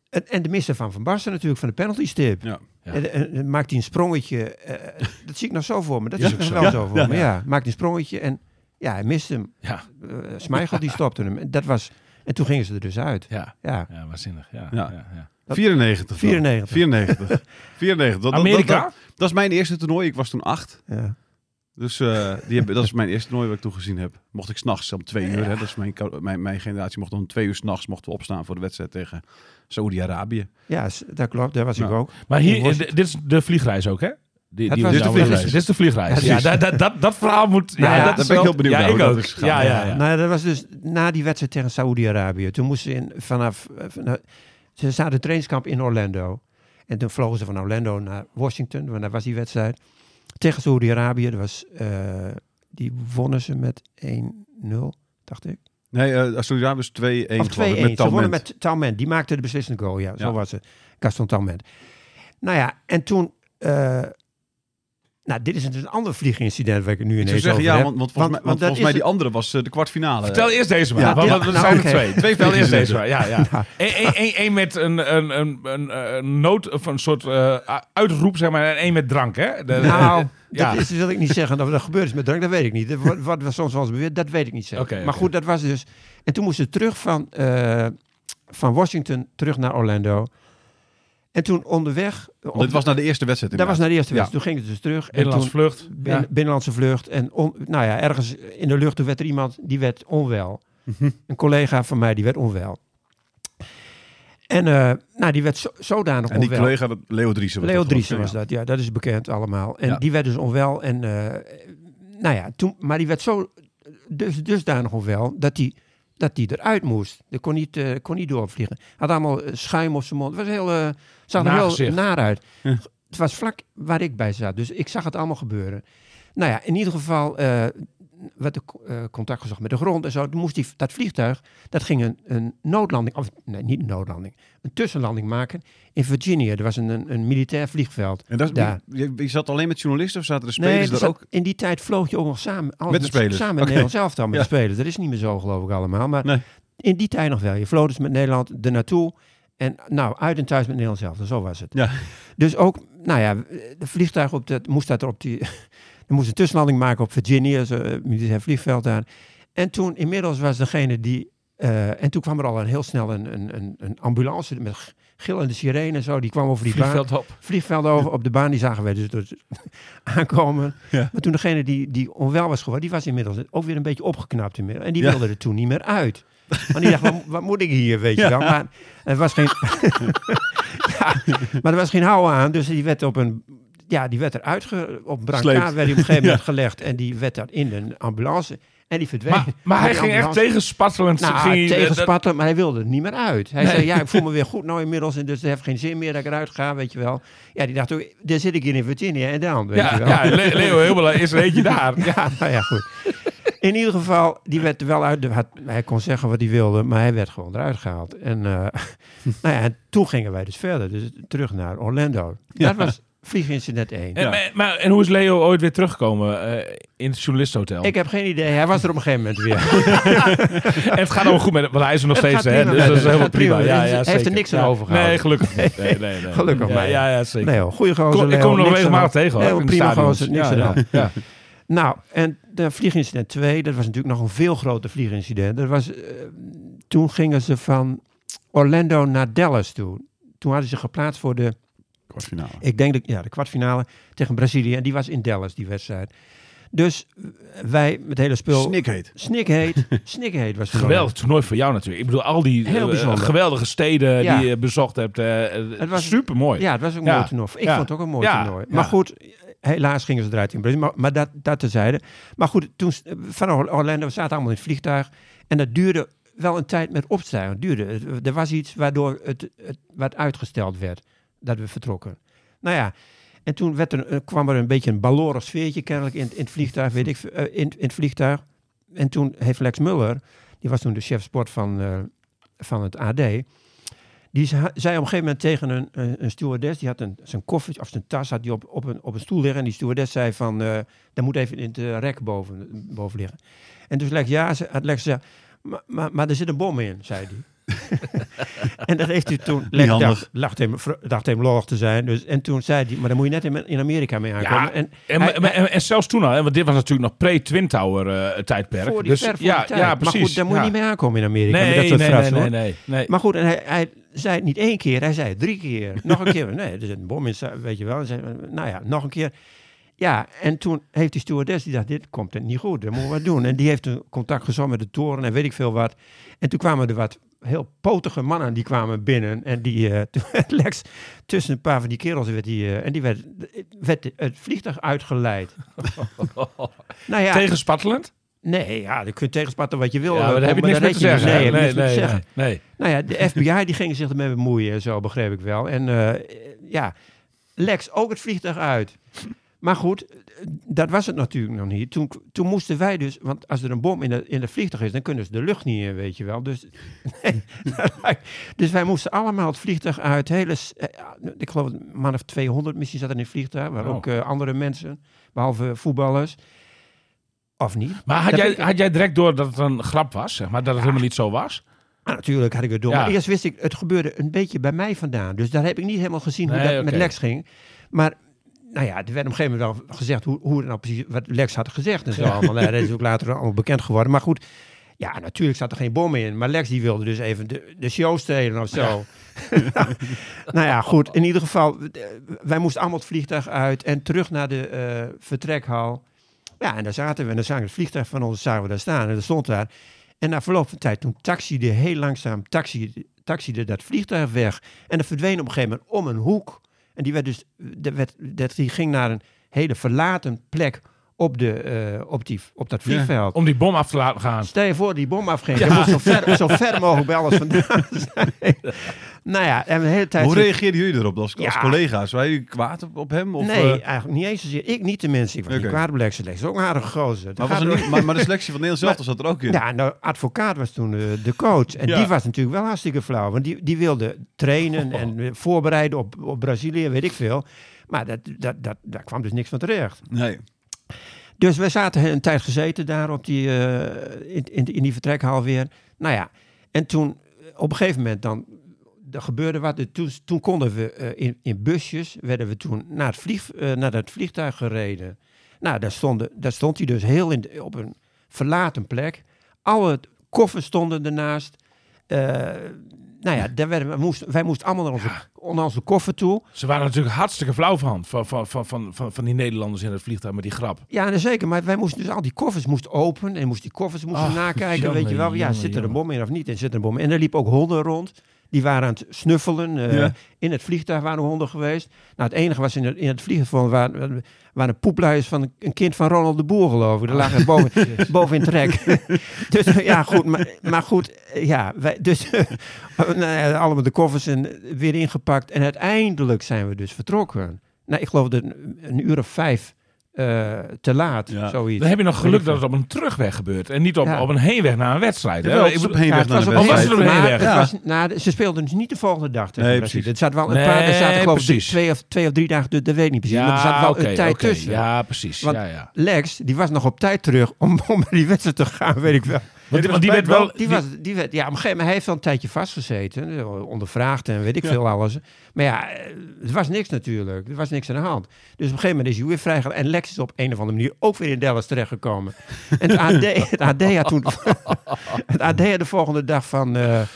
Speaker 4: en, en de mister van Van Basten natuurlijk, van de penalty stip.
Speaker 2: Ja.
Speaker 3: Ja.
Speaker 4: En, en- en maakt hij een sprongetje. eh, dat zie ik nog zo voor me. Dat
Speaker 3: Is
Speaker 4: zie ik
Speaker 3: ook
Speaker 4: nog
Speaker 3: zo.
Speaker 4: wel zo voor me. Ja, maakt hij een sprongetje en ja, hij mist hem.
Speaker 3: Ja,
Speaker 4: Eh Smeichel die stopte hem. En, dat was, en toen gingen ze er dus uit.
Speaker 3: ja.
Speaker 4: Ja,
Speaker 3: Ja, waanzinnig. Ja,
Speaker 2: Ja.
Speaker 3: ja. Ja, ja.
Speaker 2: 94. dan.
Speaker 4: 94.
Speaker 2: 94. 94. Dat, dat-
Speaker 3: Amerika?
Speaker 2: Dat, dat, dat is mijn eerste toernooi. Ik was toen acht.
Speaker 4: ja.
Speaker 2: Dus eh, die heb, dat is mijn eerste toernooi wat ik toen gezien heb. Mocht ik s'nachts om twee uur. Hè, dat is mijn, kou- mijn, mijn generatie mocht om twee uur s'nachts mochten we opstaan voor de wedstrijd tegen Saoedi-Arabië.
Speaker 4: ja s- dat klopt. Daar was
Speaker 2: Nou,
Speaker 4: ik ook.
Speaker 3: Maar
Speaker 4: In
Speaker 3: hier, eh,
Speaker 4: Worst-
Speaker 3: dit is de vliegreis ook, hè? Die,
Speaker 4: Het
Speaker 3: die
Speaker 4: was
Speaker 3: we
Speaker 4: de
Speaker 3: zouden-
Speaker 2: vliegreis.
Speaker 3: Dit is de vliegreis. Ja,
Speaker 2: precies.
Speaker 3: dat, dat, dat, dat verhaal moet...
Speaker 4: Nou
Speaker 3: ja,
Speaker 4: ja,
Speaker 3: dat
Speaker 4: daar
Speaker 3: is
Speaker 2: ben ik
Speaker 3: wel-
Speaker 2: heel benieuwd
Speaker 3: ja,
Speaker 2: naar hoe
Speaker 3: ik
Speaker 2: dat
Speaker 3: ook.
Speaker 2: is gegaan.
Speaker 3: ja, ja, ja.
Speaker 4: Nou, dat was dus na die wedstrijd tegen Saoedi-Arabië. Toen moesten ze in, vanaf, eh, vanaf- Ze zaten in trainingskamp in Orlando. En toen vlogen ze van Orlando naar Washington, want daar was die wedstrijd. Tegen Saoedi-Arabië, dat was, eh, die wonnen ze met 1-0, dacht ik.
Speaker 2: Nee, eh Saoedi-Arabië is 2-1
Speaker 4: Of 2-1.
Speaker 2: geloof ik,
Speaker 4: Ze
Speaker 2: Met
Speaker 4: wonnen
Speaker 2: Talment.
Speaker 4: met Talment. Die maakte de beslissende goal. Ja,
Speaker 2: Ja.
Speaker 4: zo was het. Gaston Talment. Nou ja, en toen... eh, nou, dit is een, een ander vliegincident waar ik het nu
Speaker 2: Ik zou
Speaker 4: ineens
Speaker 2: zeggen,
Speaker 4: over
Speaker 2: ja,
Speaker 4: heb.
Speaker 2: want, want volgens mij, want
Speaker 4: dat
Speaker 2: volgens
Speaker 4: is
Speaker 2: mij
Speaker 4: het-
Speaker 2: die andere was eh, de kwartfinale.
Speaker 3: Nou, Vertel eerst deze maar.
Speaker 2: Ja,
Speaker 3: want
Speaker 4: dit-
Speaker 3: want er
Speaker 4: nou,
Speaker 3: zijn
Speaker 4: oké.
Speaker 3: er twee. Twee vertel eerst
Speaker 2: vliegers
Speaker 3: deze maar. Ja, ja.
Speaker 4: Ja.
Speaker 3: Eén één- één- één met een, een, een, een, een nood of een soort eh, uitroep, zeg maar. En één met drank, hè? De-
Speaker 4: Nou,
Speaker 3: ja.
Speaker 4: dat is, wil ik niet zeggen. Of dat gebeurd is met drank, dat weet ik niet. Wat, wat was soms wel eens beweerd, dat weet ik niet zeker.
Speaker 3: Oké,
Speaker 4: maar
Speaker 3: oké.
Speaker 4: goed, dat was dus... En toen moesten ze terug van, eh, van Washington terug naar Orlando. En toen onderweg...
Speaker 2: Want dit was naar de eerste wedstrijd.
Speaker 4: dat was naar de eerste
Speaker 2: Ja.
Speaker 4: wedstrijd. Toen gingen ze dus terug. En
Speaker 3: Binnenlands
Speaker 4: toen,
Speaker 3: vlucht.
Speaker 4: bin- binnenlandse vlucht. En on- nou ja, ergens in de lucht toen werd er iemand die werd onwel.
Speaker 2: Mhm.
Speaker 4: Een collega van mij die werd onwel. En eh, nou, die werd zo, zodanig
Speaker 2: En die
Speaker 4: onwel.
Speaker 2: collega, dat- Leo Driessen. was
Speaker 4: Leo
Speaker 2: dat, geloof ik,
Speaker 4: Driessen was
Speaker 2: ja.
Speaker 4: dat, ja, dat is bekend allemaal. En
Speaker 3: Ja.
Speaker 4: die werd dus onwel. En, eh, nou ja, toen, maar die werd zo dus, dusdanig onwel dat die, dat die eruit moest. Die kon niet, eh, kon niet doorvliegen. Had allemaal eh, schuim op zijn mond. Was heel, eh, zag er
Speaker 3: Naar
Speaker 4: heel
Speaker 3: gezicht.
Speaker 4: naar uit.
Speaker 2: Ja.
Speaker 4: Het was vlak waar ik bij zat. Dus ik zag het allemaal gebeuren. Nou ja, in ieder geval eh, werd de co- eh, contact gezocht met de grond en zo. Toen moest die, dat vliegtuig, dat ging een, een noodlanding, of nee, niet een noodlanding, een tussenlanding maken in Virginia. Er was een, een, een militair vliegveld.
Speaker 2: En dat,
Speaker 4: daar.
Speaker 2: je, je zat alleen met journalisten of zaten de
Speaker 4: Nee,
Speaker 2: spelers
Speaker 4: er
Speaker 2: er
Speaker 4: zat-
Speaker 2: ook?
Speaker 4: in die tijd vloog je ook nog samen. alles
Speaker 2: Met de spelers.
Speaker 4: Samen
Speaker 2: Oké.
Speaker 4: met Nederland zelf dan met
Speaker 2: Ja.
Speaker 4: de spelers. Dat is niet meer zo, geloof ik allemaal. Maar
Speaker 2: Nee.
Speaker 4: in die tijd nog wel. Je vloog dus met Nederland er naartoe. En nou, uit en thuis met Nederland zelf. Zo was het.
Speaker 2: Ja.
Speaker 4: Dus ook, nou ja, de vliegtuig op dat, moest dat er op die... Er moest een tussenlanding maken op Virginia, zo, eh, militair vliegveld daar. En toen, inmiddels was degene die... eh, en toen kwam er al een, heel snel een, een, een, een ambulance met g- gillende sirene en zo. Die kwam over die baan
Speaker 3: Vliegveld op.
Speaker 4: vliegveld over op de baan. Die zagen wij dus, dus aankomen.
Speaker 2: Ja.
Speaker 4: Maar toen degene die, die onwel was geworden, die was inmiddels ook weer een beetje opgeknapt. Inmiddels. En die
Speaker 2: Ja.
Speaker 4: wilde er toen niet meer uit. Maar die dacht, wat, wat moet ik hier, weet
Speaker 2: Ja.
Speaker 4: je wel. Maar er was geen... ja, maar er was geen houden aan, dus die werd op een... Ja, die werd eruit, ge, op een brancard
Speaker 2: Sleept.
Speaker 4: werd die op een gegeven moment gelegd. En die werd daar in een ambulance. En die verdween.
Speaker 3: Maar, maar hij
Speaker 4: Die
Speaker 3: ging echt
Speaker 4: ambulance-
Speaker 3: tegen spattelend. ging hij-
Speaker 4: nou,
Speaker 3: dat-
Speaker 4: tegenspatten, maar hij wilde er niet meer uit. Hij zei, ja, ik voel me weer goed nou inmiddels en dus het heeft geen zin meer dat ik eruit ga, weet je wel. Ja, die dacht ook, daar zit ik in in Virginia en dan, weet
Speaker 3: ja,
Speaker 4: je wel.
Speaker 3: ja, Le- Leo Hilbela is er eentje daar. Ja.
Speaker 4: Ja, nou ja, goed. In ieder geval, die werd er wel uit. de- had- hij kon zeggen wat hij wilde, maar hij werd gewoon eruit gehaald. En, eh, nou ja, en toen gingen wij dus verder, dus terug naar Orlando. Dat was vliegincident 1.
Speaker 3: En, maar, maar- en hoe is Leo ooit weer teruggekomen eh, in het journalistenhotel?
Speaker 4: Ik heb geen idee, hij was er op een gegeven moment weer.
Speaker 3: En het gaat allemaal goed met hem, want hij is er nog
Speaker 4: Het
Speaker 3: steeds,
Speaker 4: gaat
Speaker 3: hè?
Speaker 4: prima
Speaker 3: Dus
Speaker 4: met
Speaker 3: dat is
Speaker 4: hem.
Speaker 3: helemaal
Speaker 4: Het gaat prima
Speaker 3: prima.
Speaker 4: met hem.
Speaker 3: Ja, ja,
Speaker 4: Hij heeft er
Speaker 3: zeker.
Speaker 4: niks
Speaker 3: Ja.
Speaker 4: aan overgehouden.
Speaker 3: Nee, gelukkig niet. Nee, nee, nee.
Speaker 4: Gelukkig
Speaker 3: ja,
Speaker 4: maar.
Speaker 3: Ja, ja, zeker.
Speaker 4: Nee hoor, goeie gozer.
Speaker 3: Kom- ik
Speaker 4: Leo,
Speaker 3: kom hem nog
Speaker 4: niks aan
Speaker 3: regelmatig
Speaker 4: de hand.
Speaker 3: tegen. hoor,
Speaker 4: Nee,
Speaker 3: in de
Speaker 4: prima
Speaker 3: stadions.
Speaker 4: gozer, niks
Speaker 3: Ja,
Speaker 4: aan de
Speaker 3: ja,
Speaker 4: hand.
Speaker 3: ja.
Speaker 4: Nou, en de vliegincident 2, dat was natuurlijk nog een veel groter vliegincident. Dat was, eh, toen gingen ze van Orlando naar Dallas toe. Toen hadden ze geplaatst voor de,
Speaker 2: Kwartfinale.
Speaker 4: ik denk, de, ja, de kwartfinale tegen Brazilië. En die was in Dallas, die wedstrijd. Dus wij met het hele spul...
Speaker 2: Snikheet.
Speaker 4: Snikheet. Snikheet was verloren.
Speaker 3: Geweldig toernooi voor jou natuurlijk. Ik bedoel, al die
Speaker 4: Heel
Speaker 3: eh,
Speaker 4: bijzonder.
Speaker 3: geweldige steden
Speaker 4: Ja.
Speaker 3: die je bezocht hebt. eh,
Speaker 4: Het
Speaker 3: het
Speaker 4: was-
Speaker 3: was super mooi.
Speaker 4: Ja, het was ook een
Speaker 3: Ja.
Speaker 4: mooi toernooi. Ik
Speaker 3: Ja.
Speaker 4: vond het ook een mooi
Speaker 3: Ja.
Speaker 4: toernooi.
Speaker 3: Ja.
Speaker 4: Maar goed, helaas gingen ze eruit in Brazilië. Maar, maar dat, dat tezijde. Maar goed, toen, s- van Or- Orlando, we zaten allemaal in het vliegtuig. En dat duurde wel een tijd met opstijgen. Het duurde. het- Er was iets waardoor het, het wat uitgesteld werd. Dat we vertrokken. Nou ja, en toen werd er, eh, kwam er een beetje een balorig sfeertje kennelijk in, in het vliegtuig. Weet ik, eh, in, in het vliegtuig. En toen heeft Lex Muller, die was toen de chef sport van, eh, van het AD. Die ze- zei op een gegeven moment tegen een, een, een stewardess, die had een, zijn koffertje of zijn tas had die op, op, een, op een stoel liggen. En die stewardess zei van, eh dat moet even in het eh, rek boven, boven liggen. En toen Lex, ja, ze, had Lex gezegd, maar, maar, maar er zit een bom in, zei hij. en dat heeft hij toen, Lex
Speaker 2: handig.
Speaker 4: dacht, dacht hem, vro- dacht hem lollig te zijn. Dus, en toen zei hij, maar dan moet je net in, in Amerika mee aankomen.
Speaker 3: Ja,
Speaker 4: en,
Speaker 3: en, en,
Speaker 4: hij-
Speaker 3: en, en zelfs toen al, hè, want dit was natuurlijk nog pre-Twin Tower eh, tijdperk.
Speaker 4: voor die
Speaker 3: dus,
Speaker 4: ver voor
Speaker 3: ja,
Speaker 4: die tijd.
Speaker 3: ja,
Speaker 4: maar
Speaker 3: precies.
Speaker 4: goed, daar moet je
Speaker 3: Ja.
Speaker 4: niet mee aankomen in Amerika.
Speaker 3: nee,
Speaker 4: met dat soort
Speaker 3: nee, nee,
Speaker 4: frasen,
Speaker 3: nee,
Speaker 4: hoor.
Speaker 3: nee, nee.
Speaker 4: Maar goed, en hij, hij zei het niet één keer, hij zei het drie keer. Nog een keer, nee, er zit een bom in, weet je wel. En zei, nou ja, nog een keer. Ja, en toen heeft die stewardess, die dacht, dit komt niet goed, dat moeten we wat doen. En die heeft een contact gezocht met de toren en weet ik veel wat. En toen kwamen er wat heel potige mannen, die kwamen binnen. En die, eh, toen werd Lex, tussen een paar van die kerels werd die, eh, en die werd, werd het vliegtuig uitgeleid. nou ja,
Speaker 3: Tegenspattelend?
Speaker 4: nee, ja, je kunt tegenspatten wat je wil.
Speaker 3: Ja, maar
Speaker 4: eh,
Speaker 3: daar heb je
Speaker 4: maar
Speaker 3: niks
Speaker 4: daar
Speaker 3: meer te
Speaker 4: red je
Speaker 3: zeggen.
Speaker 4: Nee,
Speaker 3: hè?
Speaker 4: heb je
Speaker 3: Nee,
Speaker 4: niks meer te
Speaker 3: nee,
Speaker 4: zeggen.
Speaker 3: nee. nee.
Speaker 4: Nou ja, de FBI die ging zich ermee bemoeien en zo, begreep ik wel. En eh, ja, Lex ook het vliegtuig uit. Maar goed, dat was het natuurlijk nog niet. Toen, toen moesten wij dus, want als er een bom in het in het vliegtuig is, dan kunnen ze de lucht niet in, weet je wel. Dus, nee, dat lijkt- dus wij moesten allemaal het vliegtuig uit. Hele, s- eh, ik geloof een man of 200 misschien zat er in het vliegtuig, maar
Speaker 3: Oh.
Speaker 4: ook eh, andere mensen, behalve voetballers. Of niet?
Speaker 3: Maar had
Speaker 4: Dat
Speaker 3: jij,
Speaker 4: vind ik-
Speaker 3: had jij direct door dat het een grap was, zeg maar, dat het helemaal niet zo was?
Speaker 4: Ah, natuurlijk had ik het door.
Speaker 3: Ja.
Speaker 4: Maar eerst wist ik, het gebeurde een beetje bij mij vandaan. Dus daar heb ik niet helemaal gezien hoe
Speaker 3: Nee,
Speaker 4: dat
Speaker 3: oké.
Speaker 4: met Lex ging. Maar nou ja, er werd op een gegeven moment wel gezegd hoe, hoe het nou precies wat Lex had gezegd en zo allemaal. Nou, dat is ook later allemaal bekend geworden. Maar goed, ja, natuurlijk zat er geen bom in. Maar Lex die wilde dus even de, de show stelen of zo. nou ja, goed. In ieder geval, eh, wij moesten allemaal het vliegtuig uit en terug naar de eh, vertrekhal. Ja, en daar zaten we. En dan zagen we het vliegtuig van ons zagen we daar staan. En dat stond daar. En na verloop van tijd, toen taxiede heel langzaam taxiede, taxiede dat vliegtuig weg. En dat verdween op een gegeven moment om een hoek. En die, werd dus, dat werd, dat, die ging naar een hele verlaten plek op, de, eh, op, die, op dat vliegveld.
Speaker 3: Om die bom af te laten gaan.
Speaker 4: Stel je voor die bom afging. Je moet zo ver, zo ver mogelijk bij alles vandaan zijn. nou ja, en de hele tijd...
Speaker 2: Hoe reageerden jullie erop als, als
Speaker 4: Ja.
Speaker 2: collega's? Waren jullie kwaad op, op hem? Of,
Speaker 4: nee,
Speaker 2: eh,
Speaker 4: eigenlijk niet eens zozeer. Ik niet de mensen. Ik was niet
Speaker 2: Oké.
Speaker 4: kwaad op Lex. Lex is ook een aardige gozer. Dat
Speaker 2: maar, was
Speaker 4: gaat
Speaker 2: er
Speaker 4: door-
Speaker 2: niet, maar, maar de selectie van Nederland zelf zat er ook in.
Speaker 4: Ja, nou, advocaat was toen eh, de coach. En
Speaker 2: Ja. Oh.
Speaker 4: die was natuurlijk wel hartstikke flauw. Want die, die wilde trainen en eh, voorbereiden op, op Brazilië, weet ik veel. Maar dat, dat, dat, daar kwam dus niks van terecht.
Speaker 2: Nee.
Speaker 4: Dus wij zaten een tijd gezeten daar op die, eh, in, in, in die vertrekhal weer. Nou ja, en toen eh, op een gegeven moment dan er gebeurde wat. En Toen, toen konden we eh, in, in busjes, werden we toen naar het, vlieg, eh, naar het vliegtuig gereden. Nou, daar, stonden, daar stond hij dus heel in, de- op een verlaten plek. Alle koffers stonden ernaast. Eh, nou ja, daar werden, we moesten, wij moesten allemaal naar onze, naar onze koffer toe.
Speaker 3: Ze waren natuurlijk hartstikke flauw van, van, van, van, van, van, van die Nederlanders in het vliegtuig met die grap.
Speaker 4: Ja, nee, zeker. Maar wij moesten dus al die koffers moesten open en moest die koffers moesten
Speaker 3: Ach,
Speaker 4: nakijken.
Speaker 3: jongen,
Speaker 4: weet je wel, ja,
Speaker 3: jongen,
Speaker 4: zit er een
Speaker 3: jongen.
Speaker 4: bom in of niet? En zit er een bom in. En er liepen ook honden rond. Die waren aan het snuffelen. eh,
Speaker 2: Ja.
Speaker 4: In het vliegtuig waren honden geweest. Nou, het enige was in het, in het vliegtuig waren, waren poepluiers van een- een kind van Ronald de Boer, geloof ik. Die lagen boven, boven in het rek. dus ja, goed. Maar, maar goed, eh, ja. Wij, dus eh, nou ja, allemaal de koffers en eh, weer ingepakt. En uiteindelijk zijn we dus vertrokken. Nou, ik geloof dat een, een uur of vijf eh, te laat,
Speaker 2: Ja.
Speaker 4: zoiets.
Speaker 3: Dan heb je nog geluk
Speaker 4: Weet ik
Speaker 3: dat het op een terugweg gebeurt. En niet op,
Speaker 4: Ja.
Speaker 3: op een heenweg naar een wedstrijd. hè?
Speaker 2: Jawel,
Speaker 3: Ik
Speaker 2: het is op
Speaker 3: bedoel-
Speaker 2: heenweg naar de
Speaker 3: op
Speaker 2: wedstrijd.
Speaker 3: was er een heenweg?
Speaker 4: het
Speaker 2: Ja.
Speaker 4: was- nou, de- ze speelden dus niet de volgende dag tegen
Speaker 2: Nee,
Speaker 4: Brazilië.
Speaker 2: precies.
Speaker 4: Er zaten wel een paar, er zaten
Speaker 3: Nee,
Speaker 4: geloof ik
Speaker 3: precies.
Speaker 4: twee of, twee of drie dagen, dat dat weet ik niet precies. maar er zat wel
Speaker 3: oké,
Speaker 4: een tijd
Speaker 3: oké.
Speaker 4: tussen.
Speaker 3: Ja, precies.
Speaker 4: Want-
Speaker 3: ja, ja.
Speaker 4: Lex, die was nog op tijd terug om, om naar die wedstrijd te gaan, weet ik wel.
Speaker 3: Want,
Speaker 2: was
Speaker 3: want die
Speaker 2: bij-
Speaker 3: werd wel...
Speaker 4: Die, was, die werd, ja, op een gegeven moment, hij heeft wel een tijdje vastgezeten. eh, Ondervraagd en weet ik veel alles. Maar ja, eh, het was niks natuurlijk. Er was niks aan de hand. Dus op een gegeven moment is hij weer vrijgegaan. En Lex is op een of andere manier ook weer in Dallas terechtgekomen. En het AD, het AD had toen... het AD had de volgende dag van... eh, eh,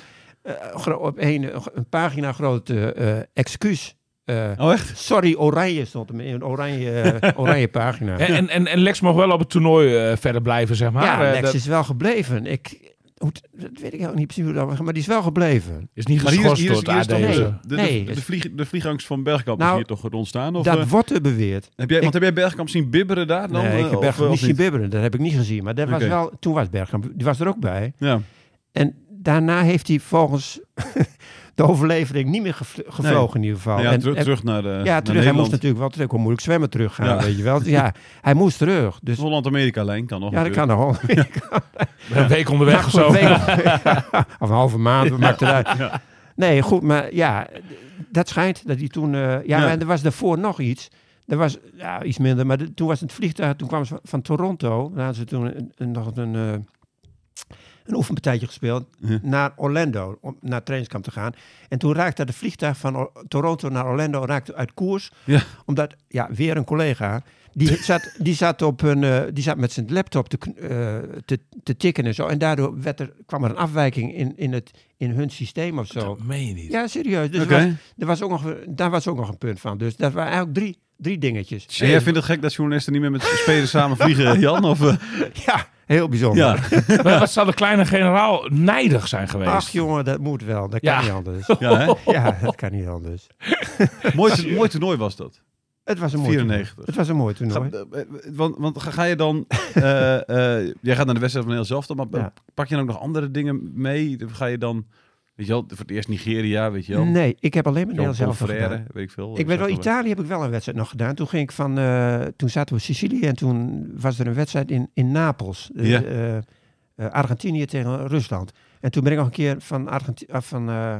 Speaker 4: gro- op een, een pagina groot eh, eh, excuus eh,
Speaker 2: Oh, echt?
Speaker 4: sorry, oranje stond hem in een oranje, eh, oranje pagina.
Speaker 3: En, en- en, en Lex mocht wel op het toernooi eh, verder blijven, zeg maar.
Speaker 4: ja,
Speaker 3: Eh,
Speaker 4: Lex
Speaker 3: dat
Speaker 4: is wel gebleven. Ik, hoe, het- dat weet ik helemaal niet precies hoe dat was, maar die is wel gebleven.
Speaker 3: is niet
Speaker 2: Maar hier is,
Speaker 3: geschorst
Speaker 2: hier
Speaker 3: door
Speaker 2: is,
Speaker 3: het
Speaker 2: hier is toch
Speaker 3: AD.
Speaker 4: Nee.
Speaker 2: de, de,
Speaker 4: Nee.
Speaker 2: de, de vlieg, de vliegangst van Bergkamp is
Speaker 4: Nou,
Speaker 2: hier toch ontstaan? Of,
Speaker 4: dat
Speaker 2: eh,
Speaker 4: wordt er beweerd.
Speaker 2: heb jij, want heb jij Bergkamp zien bibberen daar dan?
Speaker 4: nee, ik
Speaker 2: eh,
Speaker 4: heb
Speaker 2: of-
Speaker 4: Bergkamp
Speaker 2: of
Speaker 4: niet zien
Speaker 2: niet?
Speaker 4: bibberen. Dat heb ik niet gezien. Maar dat was
Speaker 2: Oké.
Speaker 4: wel, toen was Bergkamp, die was er ook bij.
Speaker 2: Ja.
Speaker 4: En daarna heeft hij volgens de overlevering niet meer gevl- gevlogen in ieder
Speaker 3: Oh.
Speaker 4: geval.
Speaker 2: Nou ja,
Speaker 4: en,
Speaker 2: terug,
Speaker 4: en-
Speaker 2: terug naar de
Speaker 4: ja,
Speaker 2: naar
Speaker 4: terug. Hij moest
Speaker 2: Nederland.
Speaker 4: natuurlijk wel terug. Hoe moeilijk zwemmen teruggaan,
Speaker 2: Ja.
Speaker 4: weet je wel. Ja, hij moest terug. Dus
Speaker 2: Holland-Amerika-lijn kan nog
Speaker 4: ja, dat
Speaker 2: Oh, natuurlijk.
Speaker 4: kan nog wel.
Speaker 3: Een week onderweg of
Speaker 4: goed,
Speaker 3: zo.
Speaker 4: weet- of een halve maand, wat maakt het uit. Nee, goed, maar ja, d- dat schijnt dat hij toen... eh, ja,
Speaker 2: Ja.
Speaker 4: en er was daarvoor nog iets. Er was ja, iets minder, maar de- toen was het vliegtuig... Toen kwamen ze van, van Toronto, daar hadden ze toen een- een- nog een, eh, een oefenpartijtje gespeeld...
Speaker 2: Ja.
Speaker 4: naar Orlando, om naar trainingskamp te gaan. En toen raakte het vliegtuig van O- Toronto naar Orlando raakte uit koers...
Speaker 2: Ja.
Speaker 4: omdat, ja, weer een collega... Die zat, die, zat op een, eh, die zat met zijn laptop te, kn- eh, te, te tikken en zo. En daardoor werd er, kwam er een afwijking in, in, het, in hun systeem of zo.
Speaker 3: Dat meen je niet.
Speaker 4: Ja, serieus. Dus er
Speaker 2: Oké.
Speaker 4: was, er was ook nog, daar was ook nog een punt van. Dus dat waren eigenlijk drie, drie dingetjes.
Speaker 2: En jij vindt het gek dat journalisten niet meer met spelers samen vliegen, Jan? Of, eh,
Speaker 4: Ja, heel bijzonder.
Speaker 2: ja.
Speaker 3: Maar Wat zou de kleine generaal nijdig zijn geweest?
Speaker 4: Ach jongen, dat moet wel. Dat kan
Speaker 3: Ja.
Speaker 4: niet anders.
Speaker 2: Ja, hè?
Speaker 4: Ja, dat kan niet anders.
Speaker 2: Mooi, to- mooi toernooi was dat.
Speaker 4: Het was een mooi
Speaker 2: 94.
Speaker 4: toernooi. Het was een mooi toernooi.
Speaker 2: Ga- eh, eh, want want ga, ga je dan... eh, eh, jij gaat naar de wedstrijd van heel zelf, maar eh,
Speaker 4: Ja.
Speaker 2: pak je dan ook nog andere dingen mee? Ga je dan... Weet je wel, voor het eerst Nigeria, weet je wel.
Speaker 4: Nee, ik heb alleen maar
Speaker 2: Zo'n
Speaker 4: Nederlands zelf gedaan.
Speaker 2: confrère, weet ik veel. eh,
Speaker 4: Ik weet wel, Italië heb ik wel een wedstrijd nog gedaan. Toen ging ik van, eh, toen zaten we in Sicilië en toen was er een wedstrijd in, in Napels. Eh,
Speaker 2: Ja.
Speaker 4: eh, eh, Argentinië tegen Rusland. En toen ben ik nog een keer van, Argenti ah, van eh,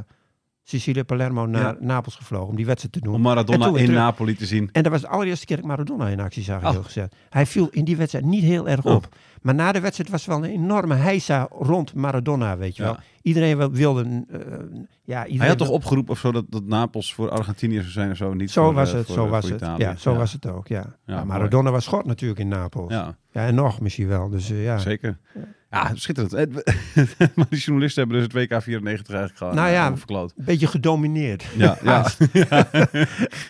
Speaker 4: Sicilië, Palermo naar
Speaker 2: Ja.
Speaker 4: Napels gevlogen om die wedstrijd te doen.
Speaker 2: eh, Om
Speaker 4: En
Speaker 2: Maradona
Speaker 4: toen
Speaker 2: in
Speaker 4: weer terug.
Speaker 2: Napoli te zien.
Speaker 4: En dat was de allereerste keer dat ik Maradona in actie zag,
Speaker 2: Oh.
Speaker 4: heel gezegd. Hij viel in die wedstrijd niet heel erg
Speaker 2: Oh.
Speaker 4: op. Maar na de wedstrijd was er wel een enorme heisa rond Maradona, weet je
Speaker 2: Ja.
Speaker 4: wel. Iedereen wel- wilde... eh, ja, iedereen
Speaker 2: Hij had
Speaker 4: wil-
Speaker 2: toch opgeroepen of zo dat, dat Napels voor Argentinië zou zijn of zo? Niet
Speaker 4: Zo
Speaker 2: voor, eh,
Speaker 4: was het,
Speaker 2: voor-
Speaker 4: zo
Speaker 2: voor
Speaker 4: was het.
Speaker 2: Italië.
Speaker 4: Ja, zo was het ook, ja.
Speaker 2: Ja,
Speaker 4: Maar Maradona was schot natuurlijk in Napels. Ja.
Speaker 2: Ja,
Speaker 4: en nog misschien wel. Dus eh, ja.
Speaker 2: zeker. Ja, schitterend. Eh, maar die journalisten hebben dus het WK 94 eigenlijk gewoon
Speaker 4: Nou
Speaker 2: eh,
Speaker 4: ja.
Speaker 2: allemaal verkloot.
Speaker 4: Een beetje gedomineerd.
Speaker 2: Ja, ja.
Speaker 4: nou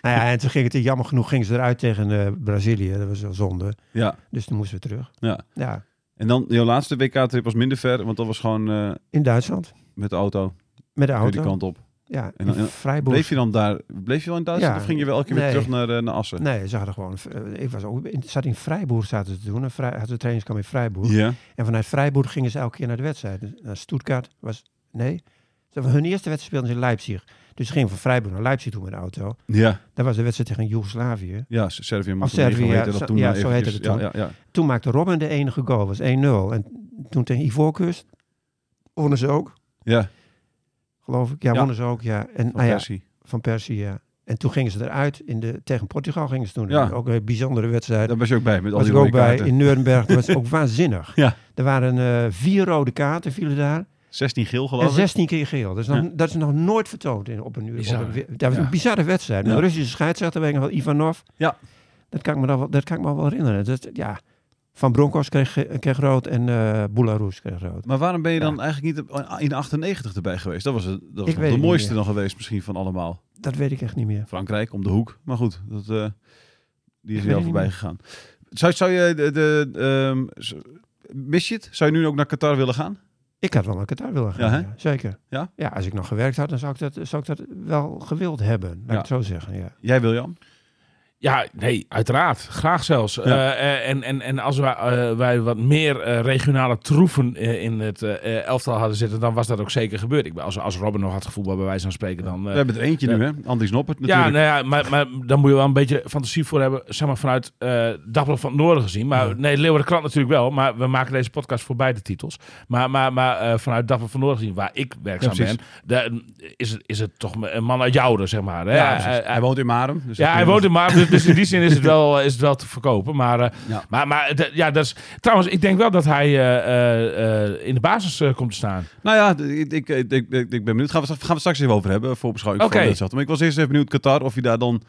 Speaker 4: ja, en toen ging het, jammer genoeg, ging ze eruit tegen eh, Brazilië. Dat was wel zonde.
Speaker 2: ja,
Speaker 4: Dus toen moesten we terug.
Speaker 2: ja.
Speaker 4: Ja,
Speaker 2: En dan, jouw laatste WK-trip was minder ver, want dat was gewoon eh,
Speaker 4: in Duitsland.
Speaker 2: met de auto,
Speaker 4: Met de
Speaker 2: weer die
Speaker 4: auto.
Speaker 2: kant op.
Speaker 4: Ja,
Speaker 2: En dan-
Speaker 4: in Freiburg.
Speaker 2: Bleef je dan daar, bleef je wel in Duitsland
Speaker 4: Ja.
Speaker 2: of ging je wel elke keer weer
Speaker 4: Nee.
Speaker 2: terug naar, eh, naar Assen?
Speaker 4: Nee, ze hadden gewoon... eh, Ik was ook, in- zat in Freiburg zaten ze te doen. Een vrij, hadden ze trainingskamp in Freiburg.
Speaker 2: Ja,
Speaker 4: En vanuit Freiburg gingen ze elke keer naar de wedstrijd. Dus Naar Stuttgart was... Nee. Ze- Hun eerste wedstrijd speelden ze in Leipzig. Dus ze gingen van Freiburg naar Leipzig toe met de auto.
Speaker 2: ja,
Speaker 4: Dat was de wedstrijd tegen Joegoslavië.
Speaker 2: ja, Servië mag
Speaker 4: Of Servië, ja,
Speaker 2: dat
Speaker 4: zo-
Speaker 2: toen
Speaker 4: ja,
Speaker 2: eh,
Speaker 4: zo heette
Speaker 2: eventjes.
Speaker 4: het
Speaker 2: Ja, ja, ja.
Speaker 4: Toen Ah, maakte Robin de enige goal, was 1-0. En toen tegen Ivoorkust wonnen ze ook,
Speaker 2: ja,
Speaker 4: geloof ik. Ja,
Speaker 2: Ja.
Speaker 4: wonnen ze ook, ja. En,
Speaker 2: van
Speaker 4: nou ja,
Speaker 2: Persie.
Speaker 4: van Persie, ja. En toen gingen ze eruit in de, tegen Portugal. Gingen ze toen
Speaker 2: Ja.
Speaker 4: ook een bijzondere wedstrijd.
Speaker 2: Daar was je ook bij, met al
Speaker 4: was
Speaker 2: die
Speaker 4: ik ook
Speaker 2: rode
Speaker 4: bij
Speaker 2: kaarten.
Speaker 4: in Nuremberg. Dat was ook waanzinnig.
Speaker 2: Ja.
Speaker 4: Er waren eh, vier rode kaarten vielen daar.
Speaker 2: 16 geel
Speaker 4: En
Speaker 2: geloof ik.
Speaker 4: 16 keer geel. Dat is nog, dat is nog nooit vertoond in, op een uur.
Speaker 3: Bizar,
Speaker 4: op een-
Speaker 3: hè?
Speaker 4: dat was
Speaker 2: Ja.
Speaker 4: een bizarre wedstrijd. Een
Speaker 2: Ja.
Speaker 4: Russische scheidsrechter, weet ik nog wel, Ivanov.
Speaker 2: Ja.
Speaker 4: Dat kan ik me, dan wel, dat kan ik me wel herinneren. Dat, ja. Van Broncos kreeg, ge- kreeg rood en eh Boularus kreeg rood.
Speaker 2: Maar waarom ben je dan eigenlijk niet op- in 98 erbij geweest? Dat was, het- dat was
Speaker 4: Ik weet
Speaker 2: de
Speaker 4: het
Speaker 2: mooiste
Speaker 4: niet
Speaker 2: dan geweest misschien van allemaal.
Speaker 4: Dat weet ik echt niet meer.
Speaker 2: Frankrijk om de hoek. Maar goed, dat, eh, die is
Speaker 4: weet
Speaker 2: wel
Speaker 4: het
Speaker 2: voorbij
Speaker 4: niet.
Speaker 2: gegaan. Zou, zou je de, de, ehm, z- mis je het? Zou je nu ook naar Qatar willen gaan?
Speaker 4: Ik had wel naar Qatar willen gaan.
Speaker 2: Ja, hè?
Speaker 4: ja. zeker.
Speaker 2: Ja?
Speaker 4: ja, als ik nog gewerkt had, dan zou ik dat, zou ik dat wel gewild hebben. Laat
Speaker 2: Ja.
Speaker 4: ik het zo zeggen. Ja.
Speaker 2: Jij William?
Speaker 3: Ja, nee, uiteraard. Graag zelfs. Eh, eh, en, en, en als wij, eh, wij wat meer eh, regionale troeven eh, in het eh, elftal hadden zitten, dan was dat ook zeker gebeurd. Ik, ben- als, als Robin nog had gevoetbal bij wijze van spreken, dan... eh,
Speaker 2: We hebben er eentje
Speaker 3: ja.
Speaker 2: nu, hè? Andy Snoppert
Speaker 3: ja,
Speaker 2: natuurlijk.
Speaker 3: nou ja maar, maar dan moet je wel een beetje fantasie voor hebben, zeg maar vanuit eh Dagblad van het Noorden gezien. Maar nee, Leeuwarden Krant natuurlijk wel, maar we maken deze podcast voor beide titels. Maar, maar, maar eh, vanuit Dagblad van het Noorden gezien, waar ik werkzaam
Speaker 2: Ja, precies.
Speaker 3: ben, daar, is, het, is het toch een man uit Jouden, zeg maar. hè?
Speaker 2: precies.
Speaker 3: Hij- hij-
Speaker 2: hij woont in Marem. Dus
Speaker 3: ja,
Speaker 2: dat-
Speaker 3: hij woont in maar dus, dus in die zin is het wel, is het wel te verkopen. Maar, eh,
Speaker 2: Ja.
Speaker 3: maar, maar d- ja, dat is, trouwens, ik denk wel dat hij eh, eh, eh, in de basis eh, komt te staan.
Speaker 2: Nou ja, d- ik, ik, ik, ik, ik ben benieuwd. Gaan we, gaan we het straks even over hebben, voor beschouwing
Speaker 3: Oké.
Speaker 2: van de wedstrijd. Maar ik was eerst even benieuwd, Qatar, of je daar dan...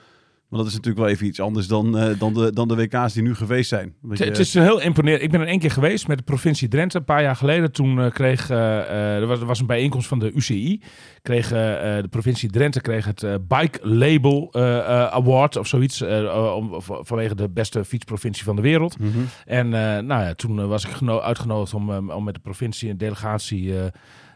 Speaker 2: Maar dat is natuurlijk wel even iets anders dan, eh, dan, de, dan de WK's die nu geweest zijn. Want
Speaker 3: Het,
Speaker 2: je-
Speaker 3: het is heel imponerend. Ik ben er één keer geweest met de provincie Drenthe een paar jaar geleden. Toen eh, kreeg eh, eh, er was, er was een bijeenkomst van de UCI. Kreeg, eh, eh, de provincie Drenthe kreeg het eh, Bike Label eh, eh, Award of zoiets. eh, om, v- vanwege de beste fietsprovincie van de wereld.
Speaker 2: Mhm.
Speaker 3: En eh, nou ja, toen eh, was ik geno- uitgenodigd om, eh, om met de provincie en delegatie eh,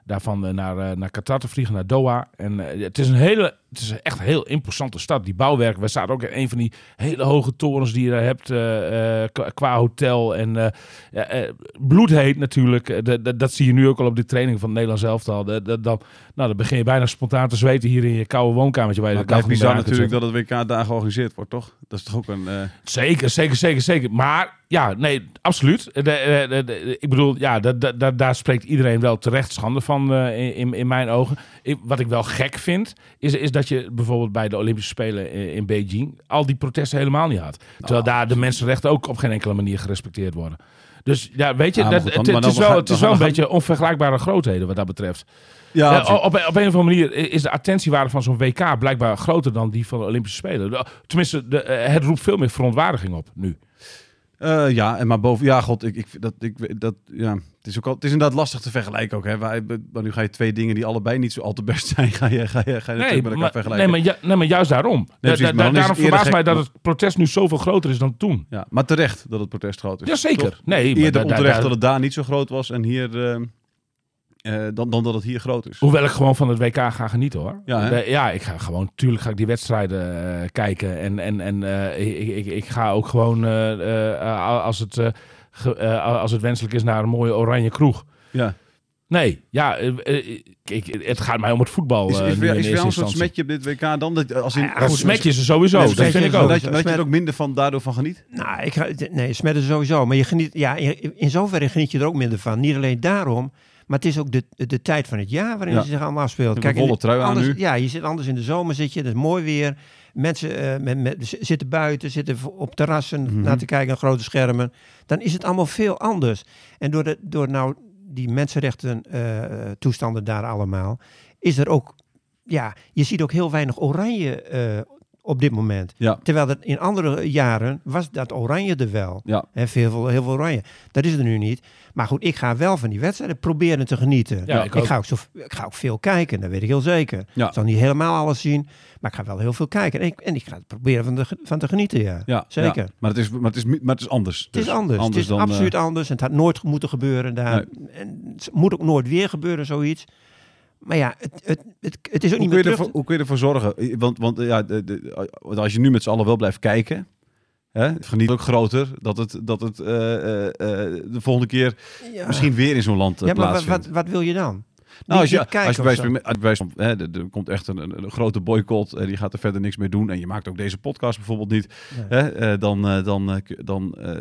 Speaker 3: daarvan eh, naar, eh, naar Qatar te vliegen, naar Doha. En eh, het is een hele, het is een echt heel imposante stad. Die bouwwerken, we zaten ook in een van die hele hoge torens die je daar hebt eh, eh, qua- qua hotel. En eh, ja, eh, bloedheet natuurlijk. Eh, dat- dat- dat zie je nu ook al op de training van het Nederlands elftal. Dat, dat, dat- nou, dan begin je bijna spontaan te zweten hier in je koude woonkamertje. Waar je
Speaker 2: Maar
Speaker 3: de
Speaker 2: het blijft
Speaker 3: kachel niet
Speaker 2: bizar
Speaker 3: meer aan kunt
Speaker 2: natuurlijk dat het
Speaker 3: zetten.
Speaker 2: WK daar georganiseerd wordt, toch? Dat is toch ook een... eh,
Speaker 3: Zeker, zeker, zeker, zeker. Maar ja, nee, absoluut. Eh, De, de- de- de- ik bedoel, ja, da- da- da- daar spreekt iedereen wel terecht schande van eh, in, in mijn ogen. Ik- wat ik wel gek vind, is, is dat je bijvoorbeeld bij de Olympische Spelen eh, in, in Beijing al die protesten helemaal niet had.
Speaker 2: Ah.
Speaker 3: Terwijl daar de mensenrechten ook op geen enkele manier gerespecteerd worden. Dus ja, weet je,
Speaker 2: Ah, maar
Speaker 3: dat,
Speaker 2: goed,
Speaker 3: het,
Speaker 2: dan-
Speaker 3: het
Speaker 2: maar
Speaker 3: is
Speaker 2: dan
Speaker 3: wel,
Speaker 2: gaan-
Speaker 3: het is
Speaker 2: dan
Speaker 3: wel een
Speaker 2: gaan-
Speaker 3: beetje onvergelijkbare grootheden wat dat betreft.
Speaker 2: ja,
Speaker 3: Ja,
Speaker 2: natuurlijk.
Speaker 3: op, op een of andere manier is de attentiewaarde van zo'n WK blijkbaar groter dan die van de Olympische Spelen. De- Tenminste, de, eh, het roept veel meer verontwaardiging op nu.
Speaker 2: Eh, ja, en maar boven... Ja, god, ik, ik, dat, ik, dat, ja. het, is ook al, het is inderdaad lastig te vergelijken ook. Hè? Wij- Maar nu ga je twee dingen die allebei niet zo al te best zijn, ga je, ga je, ga je natuurlijk met elkaar
Speaker 3: maar, nee,
Speaker 2: vergelijken.
Speaker 3: maar, ju- nee, maar juist daarom. Da-
Speaker 2: precies,
Speaker 3: da-
Speaker 2: maar dan is
Speaker 3: daarom
Speaker 2: het eerder
Speaker 3: verbaast
Speaker 2: gek-
Speaker 3: mij dat het protest nu zoveel groter is dan toen.
Speaker 2: Ja, maar terecht dat het protest groot is.
Speaker 3: Jazeker.
Speaker 2: Dus Toch?
Speaker 3: Nee, maar
Speaker 2: Eerder
Speaker 3: da- da-
Speaker 2: onterecht
Speaker 3: da-
Speaker 2: dat het daar niet zo groot was en hier... eh, eh, dan, dan dat het hier groot is.
Speaker 3: Hoewel ik gewoon van het WK ga genieten hoor.
Speaker 2: Ja, hè?
Speaker 3: Da- ja ik ga gewoon, tuurlijk ga ik die wedstrijden eh, kijken. En, en, en eh, ik, ik, ik ga ook gewoon, eh, eh, als, het, eh, ge- eh, als het wenselijk is, naar een mooie oranje kroeg.
Speaker 2: Ja.
Speaker 3: Nee, ja, eh, eh, ik, ik- het gaat mij om het voetbal.
Speaker 2: Is,
Speaker 3: eh,
Speaker 2: is,
Speaker 3: nu
Speaker 2: weer-
Speaker 3: in
Speaker 2: is
Speaker 3: eerste
Speaker 2: wel een soort
Speaker 3: instantie.
Speaker 2: smetje op dit WK dan? Dat, als in,
Speaker 4: Ah, ja,
Speaker 3: Een
Speaker 4: goed, dus-
Speaker 3: smetje is er sowieso,
Speaker 2: Ja,
Speaker 3: dat
Speaker 4: smetje
Speaker 3: vind ik
Speaker 4: is
Speaker 3: ook.
Speaker 2: Dat je, dat je
Speaker 4: Smet-
Speaker 2: er ook minder van, daardoor van geniet?
Speaker 4: Nou, ik ga, nee, smetten sowieso. Maar je geniet, ja, in in zoverre geniet je er ook minder van. Niet alleen daarom, maar het is ook de, de tijd van het jaar waarin
Speaker 2: Ja.
Speaker 4: ze zich allemaal afspeelt.
Speaker 2: Ik heb een
Speaker 4: in-
Speaker 2: wollen trui aan
Speaker 4: anders,
Speaker 2: nu.
Speaker 4: Ja, je zit anders in de zomer, zit je, dat is mooi weer. Mensen eh, met, met, z- zitten buiten, zitten v- op terrassen
Speaker 2: Mhm.
Speaker 4: naar te kijken, aan grote schermen. Dan is het allemaal veel anders. En door, de, door nou die mensenrechten eh, toestanden daar allemaal, is er ook, ja, je ziet ook heel weinig oranje eh, op dit moment.
Speaker 2: Ja.
Speaker 4: Terwijl er in andere jaren was dat oranje er wel.
Speaker 2: Ja.
Speaker 4: Hè, veel, veel- heel veel oranje. Dat is er nu niet. Maar goed, ik ga wel van die wedstrijden proberen te genieten.
Speaker 3: Ja, ik
Speaker 4: ik,
Speaker 3: ook.
Speaker 4: ga ook zo, ik ga ook veel kijken, dat weet ik heel zeker.
Speaker 2: Ja.
Speaker 4: Ik zal niet helemaal alles zien, maar ik ga wel heel veel kijken. En ik, en ik ga het proberen van, de, ge- van te genieten, ja.
Speaker 2: Ja,
Speaker 4: Zeker.
Speaker 2: ja. Maar, het is, maar, het is, mi- maar het is anders. eh,
Speaker 4: Het is anders. Het is absoluut anders. En het had nooit moeten gebeuren daar. En het moet ook nooit weer gebeuren, zoiets. Maar ja, het, het, het, het is ook niet
Speaker 2: Hoe kun,
Speaker 4: meer
Speaker 2: je
Speaker 4: terug.
Speaker 2: ervoor, hoe kun je ervoor zorgen? Eh, Want, want eh, ja, de, de- want als je nu met z'n allen wel blijft kijken, hè, het geniet ook groter dat het, dat het eh, eh, eh, de volgende keer
Speaker 4: Ja.
Speaker 2: misschien weer in zo'n land eh,
Speaker 4: Ja, maar wat,
Speaker 2: plaatsvindt.
Speaker 4: wat, wat wil je dan?
Speaker 2: nou, als je,
Speaker 4: niet kijken
Speaker 2: als je
Speaker 4: of
Speaker 2: bij
Speaker 4: zo.
Speaker 2: spree- als je bij spree- hè, er- er komt echt een, een, een grote boycott, eh, die gaat er verder niks mee doen en je maakt ook deze podcast bijvoorbeeld niet,
Speaker 4: Nee.
Speaker 2: hè, eh, dan, eh, dan, eh, kun- dan, eh,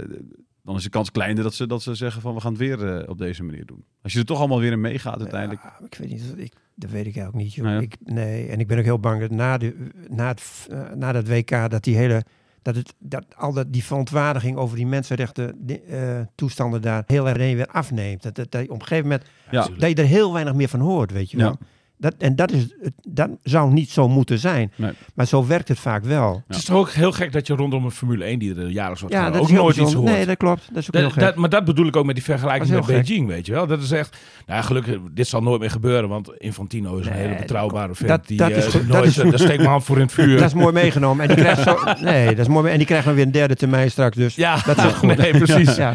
Speaker 2: dan is de kans kleiner dat ze, dat ze zeggen van we gaan het weer eh, op deze manier doen. Als je er toch allemaal weer in meegaat uiteindelijk.
Speaker 4: Ja, Ah, ik weet niet, ik, dat weet ik eigenlijk niet. Joh.
Speaker 2: Nee.
Speaker 4: Ik, nee, en ik ben ook heel bang dat na, de, na, het, v- eh, na dat WK dat die hele dat het dat al dat die verontwaardiging over die mensenrechten die, eh, toestanden daar heel erg weer afneemt. Dat, dat, dat je op een gegeven moment
Speaker 2: Ja.
Speaker 4: dat je er heel weinig meer van hoort, weet je wel.
Speaker 2: Ja.
Speaker 4: Dat, en dat, is, het- dat zou niet zo moeten zijn.
Speaker 2: Nee.
Speaker 4: Maar zo werkt het vaak wel.
Speaker 3: Het is toch ook heel gek dat je rondom een Formule 1 die er jaarlijks wordt
Speaker 4: Ja,
Speaker 3: gehouden,
Speaker 4: dat is
Speaker 3: ook
Speaker 4: heel
Speaker 3: nooit iets
Speaker 4: bijzonder.
Speaker 3: hoort.
Speaker 4: Nee, dat klopt. Dat is ook heel
Speaker 3: Dat,
Speaker 4: gek.
Speaker 3: dat- maar dat bedoel ik ook met die vergelijking
Speaker 4: Dat
Speaker 3: met
Speaker 4: is heel gek.
Speaker 3: Beijing, weet je wel. Dat is echt, nou gelukkig, dit zal nooit meer gebeuren, want Infantino is een
Speaker 4: Nee,
Speaker 3: hele
Speaker 4: dat-
Speaker 3: betrouwbare vent.
Speaker 4: dat-
Speaker 3: die,
Speaker 4: dat
Speaker 3: eh,
Speaker 4: is goed,
Speaker 3: nooit,
Speaker 4: dat is-
Speaker 3: eh, daar steek ik mijn hand voor in het vuur.
Speaker 4: dat is mooi meegenomen. En die krijgt zo, nee, dat is mooi. me- En die krijgt dan weer een derde termijn straks. Dus
Speaker 3: ja, nou,
Speaker 4: dat is ook goed.
Speaker 3: nee, precies.
Speaker 4: Ja.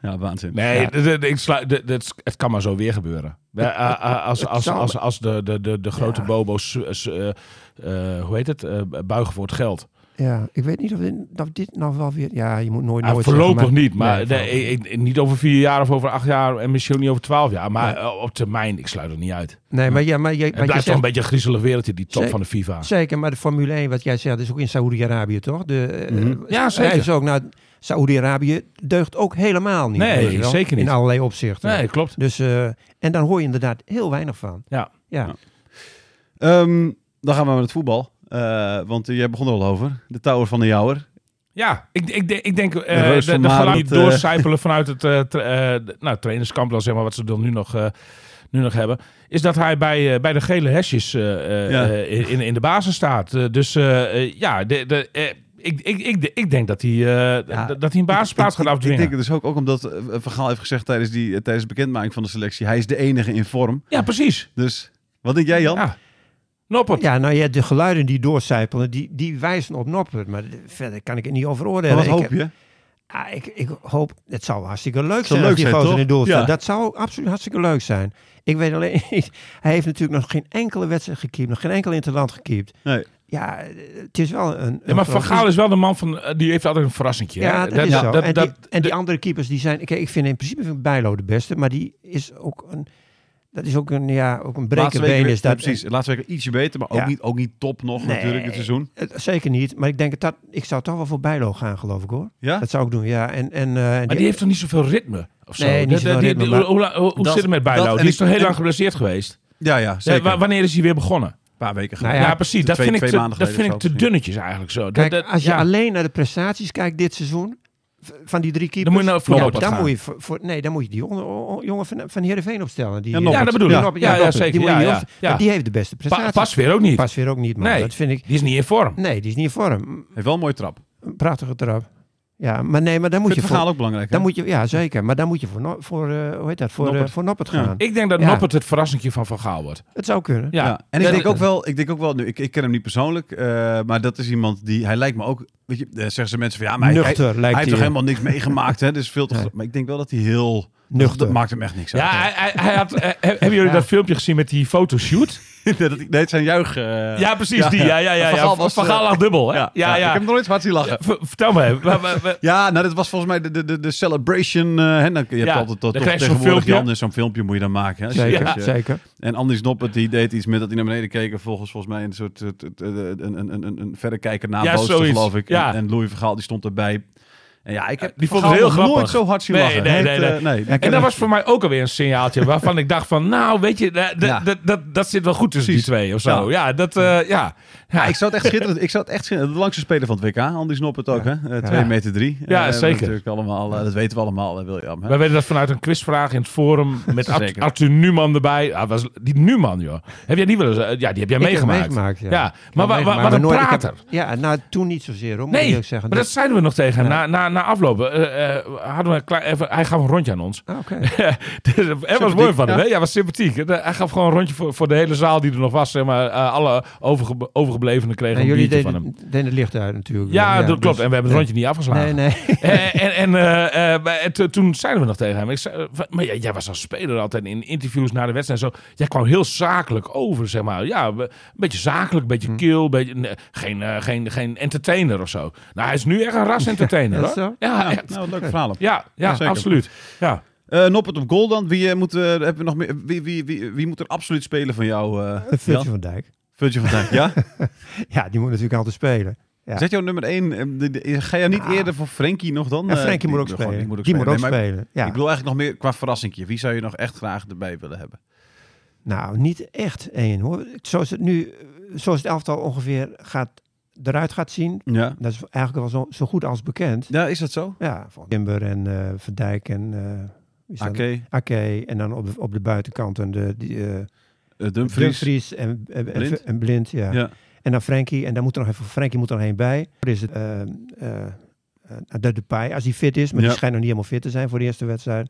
Speaker 2: Ja, waanzin.
Speaker 3: Nee,
Speaker 4: Ja.
Speaker 3: d- d- d- ik sluit, d- d- het kan maar zo weer gebeuren. Eh, eh, eh, Als,
Speaker 4: het
Speaker 3: als,
Speaker 4: zal-
Speaker 3: als, als de, de, de, de grote
Speaker 4: Ja.
Speaker 3: bobo's, eh, s- eh, eh, hoe heet het, Eh, buigen voor het geld.
Speaker 4: Ja, ik weet niet of dit, of dit nou wel weer... Ja, je moet nooit
Speaker 3: Ah,
Speaker 4: nooit
Speaker 3: voorlopig
Speaker 4: zeggen,
Speaker 3: niet, maar
Speaker 4: Nee,
Speaker 3: de-
Speaker 4: voorlopig
Speaker 3: ik- ik- niet over vier jaar of over acht jaar en misschien ook niet over twaalf jaar. Maar
Speaker 4: Nee.
Speaker 3: eh, op termijn, ik sluit het niet uit.
Speaker 4: Nee, maar, ja, maar, je,
Speaker 3: Het
Speaker 4: wat je
Speaker 3: blijft toch een
Speaker 4: zegt,
Speaker 3: beetje een griezelig wereldje, die top
Speaker 4: Zeker.
Speaker 3: van de FIFA.
Speaker 4: zeker, maar de Formule 1, wat jij zegt, is ook in Saoedi-Arabië, toch? De, eh,
Speaker 2: Mhm.
Speaker 3: Ja, zeker.
Speaker 4: hij Is ook, nou, Saoedi-Arabië deugt ook helemaal niet.
Speaker 3: Nee,
Speaker 4: weet je wel,
Speaker 3: zeker niet.
Speaker 4: In allerlei opzichten.
Speaker 3: Nee, klopt.
Speaker 4: Dus, eh, en dan hoor je inderdaad heel weinig van.
Speaker 3: Ja.
Speaker 4: Ja,
Speaker 2: Ja. Ehm, dan gaan we met het voetbal. Eh, want eh, jij begon er al over. De Tower van de Jouwer.
Speaker 3: Ja, ik, ik, denk- ik denk eh,
Speaker 2: reus
Speaker 3: de,
Speaker 2: van
Speaker 3: de geluiden
Speaker 2: Marend,
Speaker 3: die
Speaker 2: eh.
Speaker 3: doorcijpelen vanuit het eh, tra- eh, de- nou, trainerskamp, dan zeg maar, wat ze dan nu nog eh, nu nog hebben, is dat hij bij, eh, bij de gele hesjes eh, eh,
Speaker 2: Ja.
Speaker 3: eh, in, in de basis staat. Eh, dus eh, eh, ja, de, de, eh, ik, ik, ik, ik denk dat hij, eh,
Speaker 2: Ja,
Speaker 3: dat dat hij een basisplaats
Speaker 2: Ik-
Speaker 3: gaat
Speaker 2: ik- Ik
Speaker 3: afdwingen.
Speaker 2: denk het dus ook, ook omdat eh, Vergaal heeft gezegd tijdens, die, eh, tijdens de bekendmaking van de selectie, hij is de enige in vorm.
Speaker 3: ja, precies.
Speaker 2: Dus wat denk jij Jan?
Speaker 3: Ja. Noppert.
Speaker 4: Ja, nou ja, de geluiden die doorcijpelen, die, die wijzen op Noppert. Maar verder kan ik het niet over
Speaker 2: Maar
Speaker 4: oordelen.
Speaker 2: wat
Speaker 4: Ik
Speaker 2: hoop
Speaker 4: heb-
Speaker 2: je?
Speaker 4: Ah, ik, ik hoop, het zou hartstikke leuk
Speaker 2: Zou
Speaker 4: zijn
Speaker 2: leuk
Speaker 4: als die
Speaker 2: zijn,
Speaker 4: gozer
Speaker 2: toch?
Speaker 4: in het doel staat.
Speaker 2: Ja.
Speaker 4: Dat zou absoluut hartstikke leuk zijn. Ik weet alleen niet, hij heeft natuurlijk nog geen enkele wedstrijd gekiept, nog geen enkel interland gekiept.
Speaker 2: Nee.
Speaker 4: Ja, eh, het is wel een...
Speaker 3: Ja, maar Van Gaal is wel de man van, eh, die heeft altijd een verrassingje. hè?
Speaker 4: Ja, dat, is zo. en,
Speaker 3: dat-
Speaker 4: die, en die andere keepers, die zijn... Kijk, ik vind in principe vind ik Bijlo de beste, maar die is ook een... Dat is ook een, ja, ook een
Speaker 2: Laatste week,
Speaker 4: brekenbeen.
Speaker 2: weer-
Speaker 4: Is dat,
Speaker 2: ja, precies, laatste week ietsje beter, maar ook,
Speaker 4: Ja.
Speaker 2: niet, ook niet top nog
Speaker 4: Nee.
Speaker 2: natuurlijk dit seizoen.
Speaker 4: Het- Eh, zeker niet, maar ik denk dat ik zou toch wel voor Bijlo gaan, geloof ik hoor.
Speaker 2: Ja?
Speaker 4: Dat zou ik doen, ja. En, en, eh,
Speaker 3: Maar die heeft toch niet zoveel ritme? Of zo?
Speaker 4: Nee, niet
Speaker 3: Dat-
Speaker 4: zoveel
Speaker 3: die-
Speaker 4: ritme,
Speaker 3: die-
Speaker 4: maar-
Speaker 3: hoe la- hoe- hoe
Speaker 2: Dat-
Speaker 3: zit het met
Speaker 2: dat-
Speaker 3: Bijlo?
Speaker 2: en
Speaker 3: Die is
Speaker 2: ik-
Speaker 3: toch heel
Speaker 2: en-
Speaker 3: lang geblesseerd geweest?
Speaker 2: Ja, ja,
Speaker 3: Ja,
Speaker 2: zeker.
Speaker 3: wa- wanneer is hij weer begonnen?
Speaker 2: een paar weken
Speaker 4: Nou
Speaker 2: geleden.
Speaker 3: Ja,
Speaker 4: Ja,
Speaker 3: precies. Dat
Speaker 2: twee-
Speaker 3: vind ik
Speaker 2: twee
Speaker 3: te,
Speaker 2: maanden
Speaker 3: dat
Speaker 2: geleden
Speaker 3: vind ik
Speaker 2: of zo
Speaker 3: te dunnetjes eigenlijk zo. Dat-
Speaker 4: Kijk,
Speaker 3: dat-
Speaker 4: als je
Speaker 3: ja.
Speaker 4: alleen naar de prestaties kijkt dit seizoen, v- van die drie keepers...
Speaker 3: Dan moet je nou voor
Speaker 4: ja,
Speaker 3: Noppert
Speaker 4: dan
Speaker 3: gaan.
Speaker 4: moet je voor, voor- Nee, dan moet je die jongen, o- o- jongen van, van Heerenveen opstellen. Die,
Speaker 2: Ja, Noppert.
Speaker 3: Ja, dat bedoel ik.
Speaker 2: Ja,
Speaker 3: Ja,
Speaker 4: Noppert,
Speaker 3: ja,
Speaker 4: Noppert.
Speaker 3: zeker.
Speaker 4: Die, moet
Speaker 3: Ja,
Speaker 4: je
Speaker 3: ja,
Speaker 4: opstellen.
Speaker 3: ja.
Speaker 4: Maar die heeft de beste
Speaker 3: Pa-
Speaker 4: prestaties.
Speaker 3: Pas weer ook niet.
Speaker 4: Pas weer ook niet, man.
Speaker 3: Nee.
Speaker 4: Dat vind ik...
Speaker 3: Die is niet in vorm.
Speaker 4: Nee, die is niet in vorm.
Speaker 2: Heeft wel een mooie trap.
Speaker 4: Een prachtige trap. Ja, maar nee, maar dan moet
Speaker 2: Moet je
Speaker 4: je
Speaker 2: verhaal
Speaker 4: voor...
Speaker 2: ook belangrijk. hè?
Speaker 4: Dan moet je, ja, zeker. Maar dan moet je voor, No- voor eh, hoe heet dat, voor Noppert,
Speaker 2: Noppert.
Speaker 4: voor Noppert
Speaker 2: Ja.
Speaker 4: gaan.
Speaker 3: Ik denk dat
Speaker 4: Ja.
Speaker 3: Noppert het verrassingje van Van Gaal wordt.
Speaker 4: Het zou kunnen.
Speaker 3: Ja.
Speaker 2: Ja, en ik
Speaker 3: Dat-
Speaker 2: denk ook wel, ik denk ook wel, nu, ik, ik ken hem niet persoonlijk, eh, maar dat is iemand die, hij lijkt me ook, weet je, eh, zeggen ze mensen van ja, maar hij, hij,
Speaker 4: Nuchter lijkt
Speaker 2: heeft
Speaker 4: hij.
Speaker 2: toch helemaal niks meegemaakt, hè? Dus veel te,
Speaker 4: Nee.
Speaker 2: Maar ik denk wel dat hij heel,
Speaker 4: Nuchter.
Speaker 2: dat maakt hem echt niks uit.
Speaker 3: Ja, hij, hij, hij had, eh, he- hebben jullie
Speaker 4: Ja.
Speaker 3: dat filmpje gezien met die fotoshoot?
Speaker 2: dat, ik- nee, het zijn juich. eh,
Speaker 3: Ja, precies. die. Ja, ja, ja,
Speaker 2: Van
Speaker 3: ja.
Speaker 2: Gaal was,
Speaker 3: Van
Speaker 2: eh,
Speaker 3: Gaal lag dubbel. Hè? Ja, ja.
Speaker 2: Ik heb hem nooit hard zien lachen.
Speaker 3: Ver- Vertel me. even. Wa- wa- wa-
Speaker 2: Ja, nou, dat was volgens mij de, de- de, de celebration. eh hè, dan, je hebt
Speaker 3: Ja,
Speaker 2: altijd dat
Speaker 3: dan
Speaker 2: toch
Speaker 3: krijg je zo'n
Speaker 2: tegenwoordig
Speaker 3: filmpje.
Speaker 2: Jan, zo'n filmpje moet je dan maken. Hè? Als je-
Speaker 4: Zeker,
Speaker 2: als je-
Speaker 4: zeker.
Speaker 2: En Andy Snoppert die deed iets met dat hij naar beneden keek. En volgens, volgens mij een soort eh, t- t- eh, een, een, een, een verrekijker nabootste,
Speaker 3: zoiets.
Speaker 2: geloof ik.
Speaker 3: Ja.
Speaker 2: En, en Louis Vergaal die stond erbij. En ja, ik heb
Speaker 3: Die
Speaker 2: Van
Speaker 3: vond het
Speaker 2: Gaal
Speaker 3: heel
Speaker 2: nog nooit
Speaker 3: grappig.
Speaker 2: zo hard zien
Speaker 3: Nee,
Speaker 2: lachen.
Speaker 3: nee,
Speaker 2: Hij
Speaker 3: nee,
Speaker 2: heeft, eh, nee.
Speaker 3: En dat was voor mij ook alweer een signaaltje waarvan ik dacht van... Nou, weet je, da- da-
Speaker 2: Ja.
Speaker 3: da- da- dat zit wel goed tussen die twee of zo. Ja, dat... eh, ja. Ja,
Speaker 2: Ja, ik zou het echt schitterend. Ik zou het echt schitterend. De langste speler van het WK, Andy Snoppert ook, hè? Eh, 2
Speaker 3: Ja.
Speaker 2: meter 3.
Speaker 3: Ja, zeker.
Speaker 2: Natuurlijk allemaal, eh, dat weten we allemaal, eh, William. Hè?
Speaker 3: Wij weten dat vanuit een quizvraag in het forum met Ar-
Speaker 2: Zeker.
Speaker 3: Arthur Numan erbij. Ah, was die Numan, joh. Heb jij die wel eens? eh, Ja, die heb jij
Speaker 4: Ik heb
Speaker 3: meegemaakt.
Speaker 4: meegemaakt, ja.
Speaker 3: maar wa- wa- wat een
Speaker 4: nooit- ik heb-
Speaker 3: prater.
Speaker 4: Ja, nou, toen niet zozeer, hoor, moet ik
Speaker 3: Nee,
Speaker 4: eerlijk zeggen.
Speaker 3: maar dat
Speaker 4: Dus-
Speaker 3: zeiden we nog tegen hem. Na, na, na aflopen eh, eh, hadden we een klein, even, hij gaf een rondje aan ons.
Speaker 4: Ah, Oké.
Speaker 3: Dus, eh, Hij was mooi van hem, hè? Ja, was sympathiek. Eh, Hij gaf gewoon een rondje voor, voor de hele zaal die er nog was. Zeg maar, eh, alle overge, overgeblevenen kregen
Speaker 4: En
Speaker 3: een
Speaker 4: jullie
Speaker 3: biertje van hem.
Speaker 4: deden, deden het licht uit natuurlijk.
Speaker 3: Ja, dat klopt.
Speaker 4: dus-
Speaker 3: En we hebben het rondje niet afgeslagen.
Speaker 4: Nee, nee.
Speaker 3: Eh, en en eh, eh, maar to- toen zeiden we nog tegen hem. Ik zei, eh, van- maar jij, jij was als speler altijd in interviews na de wedstrijd en zo. Jij kwam heel zakelijk over, zeg maar. Ja, we- een beetje zakelijk, een beetje kil. een Beetje, nee, geen, eh, geen, geen entertainer of zo. Nou, hij is nu echt een
Speaker 4: Ja,
Speaker 3: ras-entertainer. hoor.
Speaker 4: is dat
Speaker 3: ja,
Speaker 2: Ja,
Speaker 3: echt.
Speaker 2: nou, leuk verhaal. op.
Speaker 3: ja, ja,
Speaker 2: zeker.
Speaker 3: absoluut. Ja.
Speaker 2: Eh, Noppert op goal dan. Wie, eh, moet, eh, hebben we nog meer, wie, wie, wie, wie moet er absoluut spelen van jou, eh
Speaker 4: Een
Speaker 2: Jan?
Speaker 4: Virgil van Dijk.
Speaker 2: Virgil van Dijk, ja?
Speaker 4: Ja, die moet natuurlijk altijd spelen. Ja.
Speaker 2: Zet jouw nummer 1. Ga je niet eerder voor Frenkie nog dan?
Speaker 4: En
Speaker 2: Eh,
Speaker 4: Frenkie moet ook
Speaker 2: gewoon-
Speaker 4: spelen.
Speaker 2: ook
Speaker 4: Die moet ook
Speaker 2: Nee, maar ik-
Speaker 4: spelen. Ja.
Speaker 2: Ik wil eigenlijk nog meer qua verrassingje. Wie zou je nog echt graag erbij willen hebben?
Speaker 4: Nou, niet echt één hoor. Zoals het nu, eh, zoals het elftal ongeveer gaat, eruit gaat zien,
Speaker 2: Ja.
Speaker 4: dat is eigenlijk wel zo, zo goed als bekend.
Speaker 2: Ja, is dat zo?
Speaker 4: Ja, van Timber en eh, Van Dijk en eh, wie is dat?
Speaker 2: Oké. eh
Speaker 4: Ake. En dan op, op de buitenkant en de, die, eh,
Speaker 2: Dumfries.
Speaker 4: Dumfries en, en,
Speaker 2: Blind.
Speaker 4: en, en Blind. Ja.
Speaker 2: Ja.
Speaker 4: En dan Frenkie. En dan moet er nog even, Frenkie moet er nog één bij. Er is het, eh eh eh, de Depay, als hij fit is. Maar
Speaker 2: Ja.
Speaker 4: die schijnt nog niet helemaal fit te zijn voor de eerste wedstrijd.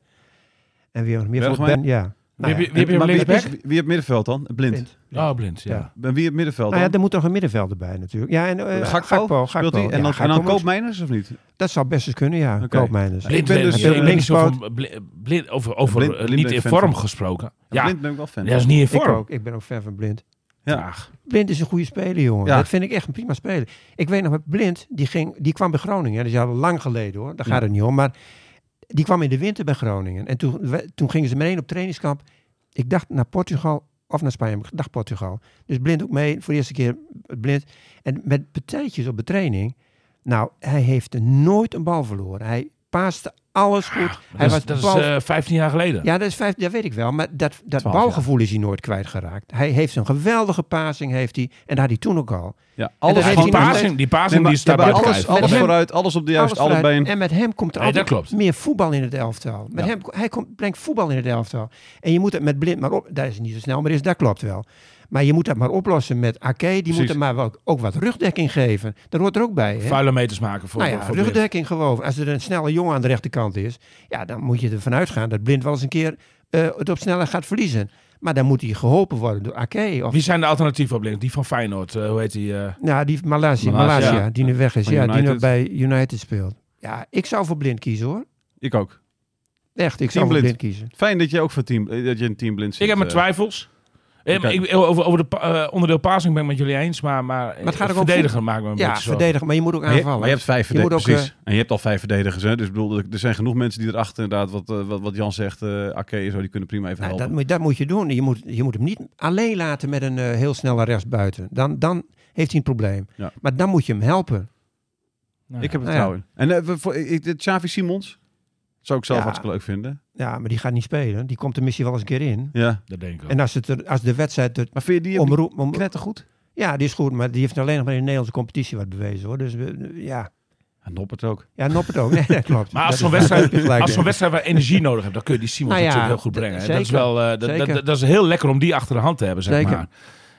Speaker 4: En wie nog meer? Van
Speaker 2: Bergwijn.
Speaker 4: Ben, ja. Nou
Speaker 3: Wie-
Speaker 4: ja.
Speaker 3: wie- wie-
Speaker 2: Maar wie,
Speaker 3: linksback?
Speaker 2: wie, wie op middenveld dan? Blind.
Speaker 4: Blind.
Speaker 3: Oh, blind, ja.
Speaker 4: Ja.
Speaker 2: En wie op middenveld
Speaker 4: Nou
Speaker 2: dan?
Speaker 4: ja, er moet nog een middenvelder bij natuurlijk. Ja, en eh
Speaker 2: Gakpo?
Speaker 4: Gakpo,
Speaker 2: Speelt
Speaker 4: Gakpo.
Speaker 2: hij? En
Speaker 4: Ja,
Speaker 2: dan, en
Speaker 4: Gakpo
Speaker 2: dan
Speaker 4: moet-
Speaker 2: Koopmeiners of niet?
Speaker 4: Dat zou best eens kunnen, ja.
Speaker 2: Oké.
Speaker 4: Koopmijners.
Speaker 2: Ik ben dus-
Speaker 3: ik ben niet zo
Speaker 4: Linksboot.
Speaker 3: van bli- blind, over, over
Speaker 2: Blind-
Speaker 3: eh,
Speaker 2: blind
Speaker 3: niet
Speaker 2: ben
Speaker 3: in
Speaker 2: ik fan
Speaker 3: vorm
Speaker 2: van.
Speaker 3: gesproken. Ja,
Speaker 2: Blind ben ik wel fan.
Speaker 3: dat is niet in
Speaker 4: Ik
Speaker 3: vorm.
Speaker 4: ook. Ik ben ook fan van Blind.
Speaker 2: Ja.
Speaker 3: Graag.
Speaker 4: Blind is een goede speler, jongen.
Speaker 2: Ja.
Speaker 4: Dat vind ik echt een prima speler. Ik weet nog, met Blind, die, ging, die kwam bij Groningen. Dat is al lang geleden hoor, daar
Speaker 2: Ja.
Speaker 4: gaat het niet om. Maar die kwam in de winter bij Groningen. En toen, we- toen gingen ze meteen op trainingskamp. Ik dacht naar Portugal of naar Spanje. maar Ik dacht Portugal. Dus Blind ook mee, voor de eerste keer Blind. En met partijtjes op de training. Nou, hij heeft nooit een bal verloren. Hij paaste alles goed. hij
Speaker 3: Ah, dat is,
Speaker 4: was
Speaker 3: dat is
Speaker 4: bal-
Speaker 3: eh, 15 jaar geleden.
Speaker 4: ja, dat, is vijf, dat weet ik wel. Maar dat, dat
Speaker 2: Twaalf
Speaker 4: balgevoel is hij nooit kwijtgeraakt. Hij heeft een geweldige passing, heeft hij. En dat had hij toen ook al.
Speaker 2: Ja,
Speaker 4: dat
Speaker 2: alles
Speaker 4: heeft
Speaker 2: van
Speaker 3: die
Speaker 4: hij nog
Speaker 2: paas-
Speaker 3: passing, die passing
Speaker 2: Nee, maar-
Speaker 3: die staat
Speaker 2: ja, maar
Speaker 3: bij
Speaker 4: buiten
Speaker 2: alles,
Speaker 4: kijf.
Speaker 2: alles
Speaker 4: Met hem-
Speaker 2: vooruit, alles op de juiste,
Speaker 4: Alles
Speaker 2: allebei
Speaker 4: vooruit. En
Speaker 2: been.
Speaker 4: met hem komt er
Speaker 3: Nee, dat
Speaker 4: altijd
Speaker 3: klopt.
Speaker 4: meer voetbal in het elftal. Met
Speaker 3: Ja.
Speaker 4: hem, hij komt, brengt voetbal in het elftal. En je moet het met blind maar op. Daar is niet zo snel, maar is, dat klopt wel. Maar je moet dat maar oplossen met Ake. Die
Speaker 2: Precies.
Speaker 4: moet er maar wel, ook wat rugdekking geven. Dat hoort er ook bij. Hè?
Speaker 3: Vuile meters maken voor,
Speaker 4: Nou ja,
Speaker 3: voor Blind.
Speaker 4: rugdekking gewoon. Als er een snelle jongen aan de rechterkant is, ja, dan moet je ervan uitgaan dat Blind wel eens een keer eh, het op sneller gaat verliezen. Maar dan moet hij geholpen worden door Ake. Of,
Speaker 3: Wie zijn de alternatieven op Blind? Die van Feyenoord, eh, hoe heet die? eh?
Speaker 4: nou, die Malaysia,
Speaker 2: Malasia.
Speaker 4: Malaysia, die nu weg is.
Speaker 2: Van
Speaker 4: Ja, die nu
Speaker 2: United.
Speaker 4: bij United speelt. Ja, ik zou voor Blind kiezen hoor.
Speaker 2: Ik ook.
Speaker 4: Echt, ik
Speaker 2: Team
Speaker 4: zou voor
Speaker 2: Blind.
Speaker 4: Blind kiezen.
Speaker 2: Fijn dat je ook voor team, eh, dat je een team blind zit.
Speaker 3: ik heb mijn
Speaker 2: eh.
Speaker 3: twijfels. Eh, maar
Speaker 2: Oké.
Speaker 3: ik, over over de pa- eh, onderdeel passing ben ik met jullie eens, maar, maar,
Speaker 4: het gaat
Speaker 3: eh,
Speaker 4: ook om
Speaker 3: verdediger maakt me een
Speaker 4: Ja,
Speaker 3: beetje zorgen.
Speaker 4: verdedigen, maar je moet ook
Speaker 2: Maar je,
Speaker 4: aanvallen.
Speaker 2: maar je hebt vijf
Speaker 4: Je moet
Speaker 2: verdedigers,
Speaker 4: ook, eh,
Speaker 2: precies. En je hebt al vijf verdedigers. Hè? Dus ik bedoel, er zijn genoeg mensen die erachter inderdaad, wat, eh, wat, wat Jan zegt, eh Ake en zo, die kunnen prima even
Speaker 4: Nou,
Speaker 2: helpen.
Speaker 4: dat, moet, dat moet je doen. Je moet, je moet hem niet alleen laten met een eh, heel snelle rechtsbuiten. Dan, dan heeft hij een probleem.
Speaker 2: Ja.
Speaker 4: Maar dan moet je hem helpen.
Speaker 3: Nou ja.
Speaker 2: Ik heb het
Speaker 4: Nou ja.
Speaker 2: vertrouwen in. En eh, we- voor, ik, dit Xavi Simons zou ik zelf
Speaker 4: Ja.
Speaker 2: hartstikke leuk vinden.
Speaker 4: Ja, maar die gaat niet spelen. Die komt er misschien wel eens een keer in.
Speaker 2: Ja.
Speaker 3: Dat denk ik ook.
Speaker 4: En als, het er, als de wedstrijd er
Speaker 2: Maar vind je die, om...
Speaker 4: omroep... Om,
Speaker 2: knettergoed?
Speaker 4: ja, die is goed, maar die heeft alleen nog maar in de Nederlandse competitie wat bewezen. hoor. Dus we- ja,
Speaker 2: En Noppert ook.
Speaker 4: ja Noppert ook. Nee, dat klopt.
Speaker 3: Maar
Speaker 4: Dat
Speaker 3: als zo'n
Speaker 4: is-
Speaker 3: wedstrijd,
Speaker 4: heb je gelijk
Speaker 3: als zo'n
Speaker 4: in.
Speaker 3: wedstrijd waar energie nodig hebt, dan kun je die Simons
Speaker 4: Nou ja,
Speaker 3: natuurlijk heel goed brengen. hè. Dat is,
Speaker 4: zeker.
Speaker 3: wel, eh, dat,
Speaker 4: Zeker.
Speaker 3: dat, dat is heel lekker om die achter de hand te hebben, zeg
Speaker 4: Zeker.
Speaker 3: maar.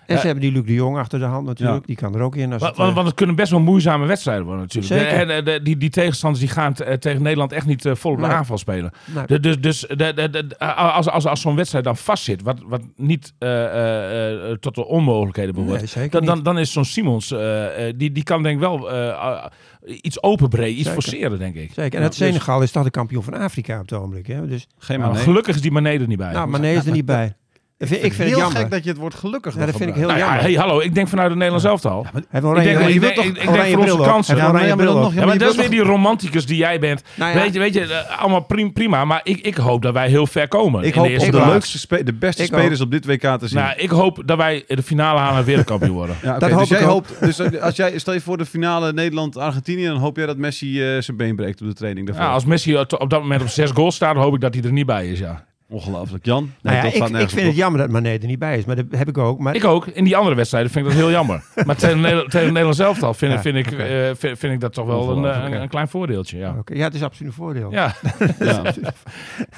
Speaker 4: En ze hebben die Luc de Jong achter de hand natuurlijk.
Speaker 2: Ja.
Speaker 4: Die kan er ook in. Als
Speaker 3: Wa-
Speaker 4: het,
Speaker 3: Want,
Speaker 4: eh,
Speaker 3: want het kunnen best wel moeizame wedstrijden worden natuurlijk.
Speaker 4: Zeker.
Speaker 3: En, eh, de- die, die tegenstanders die gaan t- eh, tegen Nederland echt niet eh, vol op de
Speaker 4: Nee.
Speaker 3: aanval spelen.
Speaker 4: nou,
Speaker 3: De- Dus, dus de- de- de- als, als, als zo'n wedstrijd dan vastzit, wat, wat niet eh, eh, eh, tot de onmogelijkheden behoort,
Speaker 4: nee, zeker
Speaker 3: dan,
Speaker 4: niet.
Speaker 3: dan, dan is zo'n Simons, eh, eh, die, die kan denk ik wel eh, ah, iets openbreken, iets
Speaker 4: Zeker.
Speaker 3: forceren, denk ik.
Speaker 4: Zeker. En
Speaker 3: Ja,
Speaker 4: het
Speaker 3: dus-
Speaker 4: Senegal is toch de kampioen van Afrika op het ogenblik. Hè? Dus,
Speaker 2: Geen
Speaker 3: maar
Speaker 2: maar nee.
Speaker 3: Nou, gelukkig is die Mané er niet bij.
Speaker 4: nou, maar nee is er niet bij. Dat vind- Ik vind het
Speaker 2: heel
Speaker 4: jammer.
Speaker 2: gek dat je het woord gelukkig
Speaker 4: Ja, dat
Speaker 2: nog
Speaker 4: vind ik heel
Speaker 2: gebruikt.
Speaker 3: Nou ja,
Speaker 4: jammer.
Speaker 3: hey, hallo, ik denk vanuit het Nederlands elftal.
Speaker 4: Hij heeft een oranje,
Speaker 3: Ik denk-
Speaker 4: oranje-
Speaker 3: ik denk-
Speaker 4: oranje
Speaker 3: ik denk- ik denk voor
Speaker 4: bril
Speaker 3: onze
Speaker 4: op.
Speaker 3: kansen.
Speaker 4: Hij heeft
Speaker 2: Ja,
Speaker 4: een
Speaker 2: maar
Speaker 4: oranje
Speaker 2: dan
Speaker 4: bril
Speaker 2: nog-
Speaker 4: op.
Speaker 2: Ja,
Speaker 3: Ja,
Speaker 2: maar
Speaker 3: maar
Speaker 2: je
Speaker 3: dat is weer
Speaker 2: wilt
Speaker 3: die romanticus die jij bent.
Speaker 4: Nou ja.
Speaker 3: Weet je, weet je eh, allemaal prim- prima, maar ik, ik hoop dat wij heel ver komen.
Speaker 2: Ik
Speaker 3: in
Speaker 2: hoop
Speaker 3: de eerste
Speaker 2: om de
Speaker 3: plaats.
Speaker 2: leukste, spe- de beste
Speaker 4: Ik
Speaker 2: spelers op dit WK te zien.
Speaker 3: Nou, ik hoop dat wij de finale halen en wereldkampioen worden.
Speaker 2: Ja, oké,
Speaker 4: Dat
Speaker 2: dus
Speaker 4: hoop ik
Speaker 2: jij
Speaker 4: ook.
Speaker 2: hoopt, dus als jij, stel je voor de finale Nederland-Argentinië, dan hoop jij dat Messi eh, zijn been breekt op de training daarvoor.
Speaker 3: Ja, als Messi op op dat moment op zes goals staat, hoop ik dat hij er niet bij is, ja.
Speaker 2: Ongelooflijk. Jan, nee,
Speaker 4: Nou ja,
Speaker 2: dat gaat
Speaker 4: ik, ik
Speaker 2: nergens
Speaker 4: vind
Speaker 2: op.
Speaker 4: het jammer dat Mané er niet bij is, maar dat heb ik ook. Maar
Speaker 3: Ik ook. In die andere wedstrijden vind ik dat heel jammer. Maar tegen, Neder- tegen Nederland zelf al vind,
Speaker 4: Ja,
Speaker 3: vind, ik,
Speaker 4: oké.
Speaker 3: eh, vind, vind ik dat toch wel een,
Speaker 2: Ongelooflijk,
Speaker 3: eh, een,
Speaker 2: hè?
Speaker 3: een klein voordeeltje, ja.
Speaker 4: Oké, Ja, het is absoluut een voordeel. Ja.
Speaker 3: Ja.
Speaker 2: Ja.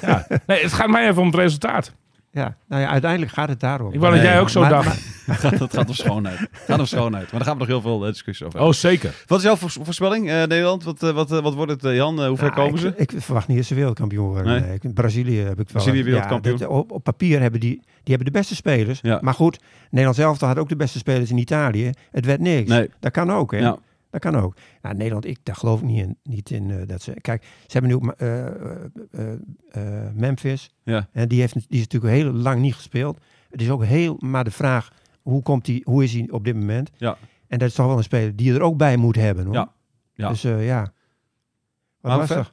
Speaker 3: ja. Nee, het gaat mij even om het resultaat.
Speaker 4: Nou ja, uiteindelijk gaat het daarom.
Speaker 3: Ik wou dat
Speaker 2: Nee,
Speaker 3: jij ook zo
Speaker 4: maar-
Speaker 3: dacht.
Speaker 2: Het gaat, het gaat om schoonheid. Het gaat om schoonheid. Maar daar gaan we nog heel veel eh, discussie over
Speaker 3: oh, zeker.
Speaker 2: hebben. Wat is jouw voors- voorspelling, eh, Nederland? Wat, eh, wat, eh, wat wordt het, eh, Jan? Eh, hoe ver
Speaker 4: Nou,
Speaker 2: komen ze?
Speaker 4: ik- Ik, verwacht niet dat ze wereldkampioen worden.
Speaker 2: Nee.
Speaker 4: Nee. ik- Brazilië heb ik wel.
Speaker 2: Brazilië
Speaker 4: ja,
Speaker 2: wereldkampioen.
Speaker 4: dat- op, op papier hebben die, die hebben de beste spelers.
Speaker 2: Ja.
Speaker 4: Maar goed, Nederland zelf had ook de beste spelers in Italië. Het werd niks.
Speaker 2: Nee.
Speaker 4: Dat kan ook, hè?
Speaker 2: Ja.
Speaker 4: Dat kan ook. Nou, Nederland, ik daar geloof ik niet in. Niet in eh, dat ze, kijk, ze hebben nu ook eh, eh, eh, eh, Memphis.
Speaker 2: Ja.
Speaker 4: En die, heeft, die is natuurlijk heel lang niet gespeeld. Het is ook heel maar de vraag, hoe, komt die, hoe is hij op dit moment?
Speaker 2: Ja.
Speaker 4: En dat is toch wel een speler die je er ook bij moet hebben. Hoor.
Speaker 2: Ja. Ja.
Speaker 4: Dus eh, ja. Wat
Speaker 2: Maar
Speaker 4: was
Speaker 2: ver-
Speaker 4: er?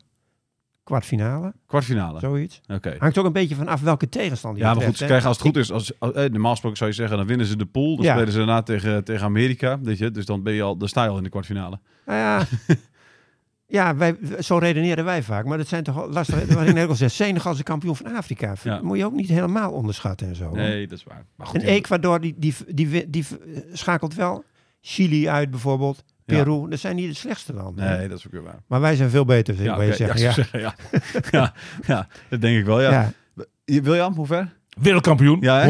Speaker 4: Kwartfinale,
Speaker 2: Kwartfinale.
Speaker 4: zoiets.
Speaker 2: Oké.
Speaker 4: Hangt ook een beetje van af welke tegenstander je
Speaker 2: Ja, maar goed,
Speaker 4: treft,
Speaker 2: ze
Speaker 4: hè.
Speaker 2: krijgen als het goed is, als, als- eh, normaal gesproken zou je zeggen, dan winnen ze de pool. Dan
Speaker 4: Ja.
Speaker 2: spelen ze daarna tegen, tegen Amerika, weet je. Dus dan, ben je al, dan sta je al in de kwartfinale.
Speaker 4: Nou ja, ja wij, zo redeneren wij vaak. Maar dat zijn toch al lastige... Waarin ik al zeg, Senegal is de kampioen van Afrika.
Speaker 2: Ja.
Speaker 4: Moet je ook niet helemaal onderschatten en zo. hoor.
Speaker 2: Nee, dat is waar. Maar goed,
Speaker 4: en Ecuador, die, die, die, die, die schakelt wel Chili uit bijvoorbeeld.
Speaker 2: Ja.
Speaker 4: Peru, dat zijn niet de slechtste landen. hè.
Speaker 2: Nee, dat is ook weer waar.
Speaker 4: Maar wij zijn veel beter, wil ik
Speaker 2: oké,
Speaker 4: maar eens
Speaker 2: ja,
Speaker 4: zeggen.
Speaker 2: ja. ja, ja, dat denk ik wel,
Speaker 4: Ja,
Speaker 2: ja.
Speaker 4: ja.
Speaker 2: Je- William, hoe ver?
Speaker 3: Wereldkampioen,
Speaker 2: Ja, hè?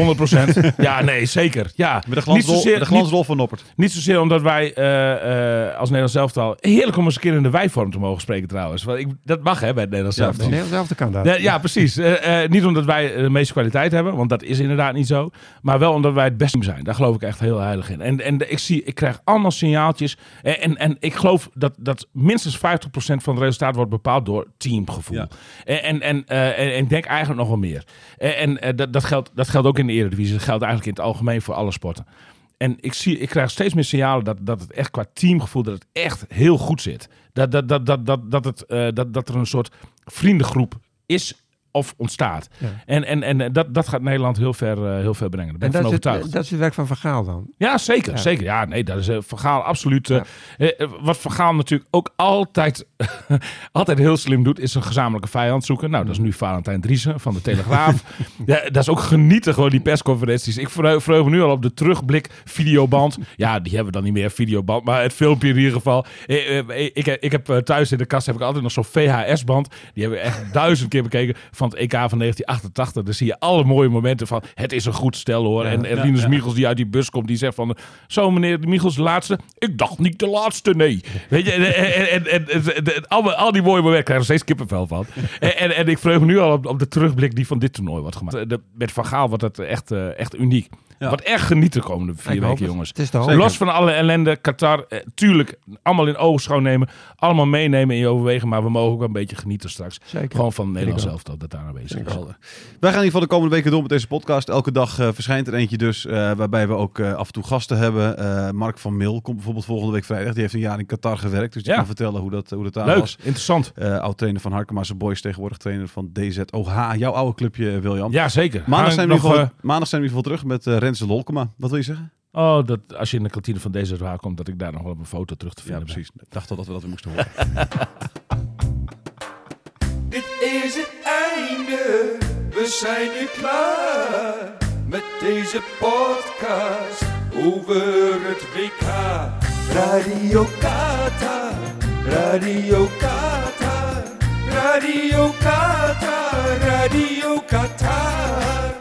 Speaker 3: 100%. Ja, nee, zeker. Ja.
Speaker 2: Met de glansrol,
Speaker 3: Niet zozeer-
Speaker 2: de glansrol van Noppert.
Speaker 3: Niet zozeer omdat wij eh, eh, als Nederlands elftal... Heerlijk om eens een keer in de wijvorm te mogen spreken trouwens. Want ik, dat mag hè, bij het Nederlands
Speaker 2: Ja,
Speaker 3: elftal.
Speaker 2: precies.
Speaker 4: Nederland zelf kan dat.
Speaker 3: Nee, ja, precies. Eh, eh, niet omdat wij de meeste kwaliteit hebben, want dat is inderdaad niet zo. Maar wel omdat wij het beste team zijn. Daar geloof ik echt heel heilig in. En, en ik, zie, ik krijg allemaal signaaltjes. En, en, en ik geloof dat, dat minstens 50% van het resultaat wordt bepaald door teamgevoel.
Speaker 2: Ja.
Speaker 3: En, en, en, eh, en- en ik denk eigenlijk nog wel meer. En, en eh, dat, dat, geldt, dat geldt ook in de Eredivisie. Dat geldt eigenlijk in het algemeen voor alle sporten. En ik, zie, ik krijg steeds meer signalen dat, dat het echt qua teamgevoel dat het echt heel goed zit. Dat, dat, dat, dat, dat, dat, het, eh, dat, dat er een soort vriendengroep is of ontstaat.
Speaker 4: Ja.
Speaker 3: En, en, en eh, dat, dat gaat Nederland heel ver, eh, heel ver brengen. Daar ben
Speaker 4: En
Speaker 3: ik van
Speaker 4: dat is, het,
Speaker 3: overtuigd.
Speaker 4: dat is het werk van Van Gaal dan.
Speaker 3: Ja, zeker.
Speaker 4: Ja.
Speaker 3: Zeker. Ja, nee, dat is eh, Van Gaal absoluut. eh, eh, wat Van Gaal natuurlijk ook altijd, altijd heel slim doet, is een gezamenlijke vijand zoeken. Nou, dat is nu Valentijn Driessen van de Telegraaf. ja, dat is ook genieten, gewoon die persconferenties. Ik verheug, verheug me nu al op de terugblik videoband. Ja, die hebben we dan niet meer, videoband. Maar het filmpje in ieder geval. Eh, eh, Ik, heb- ik heb eh, thuis in de kast heb ik altijd nog zo'n VHS-band. Die hebben we echt duizend keer bekeken van het EK van 1988. Daar zie je alle mooie momenten van. Het is een goed stel hoor. en en Rinus Michels die uit die bus komt, die zegt van... Zo meneer Michels, de laatste? Ik dacht niet de laatste, nee. Weet je, en, en, en, en- en- en- en- al, al die mooie momenten krijgen we steeds kippenvel van. En, en, en ik vreug me nu al op, op de terugblik die van dit toernooi wordt gemaakt. Eh, de- Met Van Gaal wordt dat echt, eh, echt uniek.
Speaker 2: Ja.
Speaker 3: Wat echt genieten de komende vier
Speaker 4: Ik hoop
Speaker 3: weken,
Speaker 4: het.
Speaker 3: jongens.
Speaker 4: Het is de hoop.
Speaker 2: Zeker.
Speaker 3: Los van alle ellende, Qatar, eh, tuurlijk, allemaal in oogschouw nemen. Allemaal meenemen in je overwegen, maar we mogen ook wel een beetje genieten straks.
Speaker 4: Zeker.
Speaker 3: Gewoon van Nederland zelf dat dat daar aanwezig is.
Speaker 2: Helder. Wij gaan in ieder geval de komende weken door met deze podcast. Elke dag eh, verschijnt er eentje dus, eh, waarbij we ook eh, af en toe gasten hebben. Eh, Mark van Mil komt bijvoorbeeld volgende week vrijdag. Die heeft een jaar in Qatar gewerkt, dus die
Speaker 3: Ja.
Speaker 2: kan vertellen hoe dat, hoe dat daar
Speaker 3: Leuk,
Speaker 2: was.
Speaker 3: interessant.
Speaker 2: Eh Oud-trainer van Harkema's Boys, tegenwoordig trainer van DZOH. Jouw oude clubje, eh, William.
Speaker 3: Ja, zeker.
Speaker 2: Maandag,
Speaker 3: Hang
Speaker 2: zijn we
Speaker 3: nog,
Speaker 2: nog, eh, maandag zijn we in ieder geval terug met eh Renze Lolkema. Wat wil je zeggen?
Speaker 3: eh, oh, dat als je in de kantine van deze raar komt, dat ik daar nog wel op een foto terug te
Speaker 2: Ja,
Speaker 3: vinden ben.
Speaker 2: precies. Ik dacht al dat we dat weer moesten horen.
Speaker 1: Dit is het einde, we zijn nu klaar met deze podcast over het WK. Radio Qatar, Radio Qatar, Radio Qatar, Radio Qatar.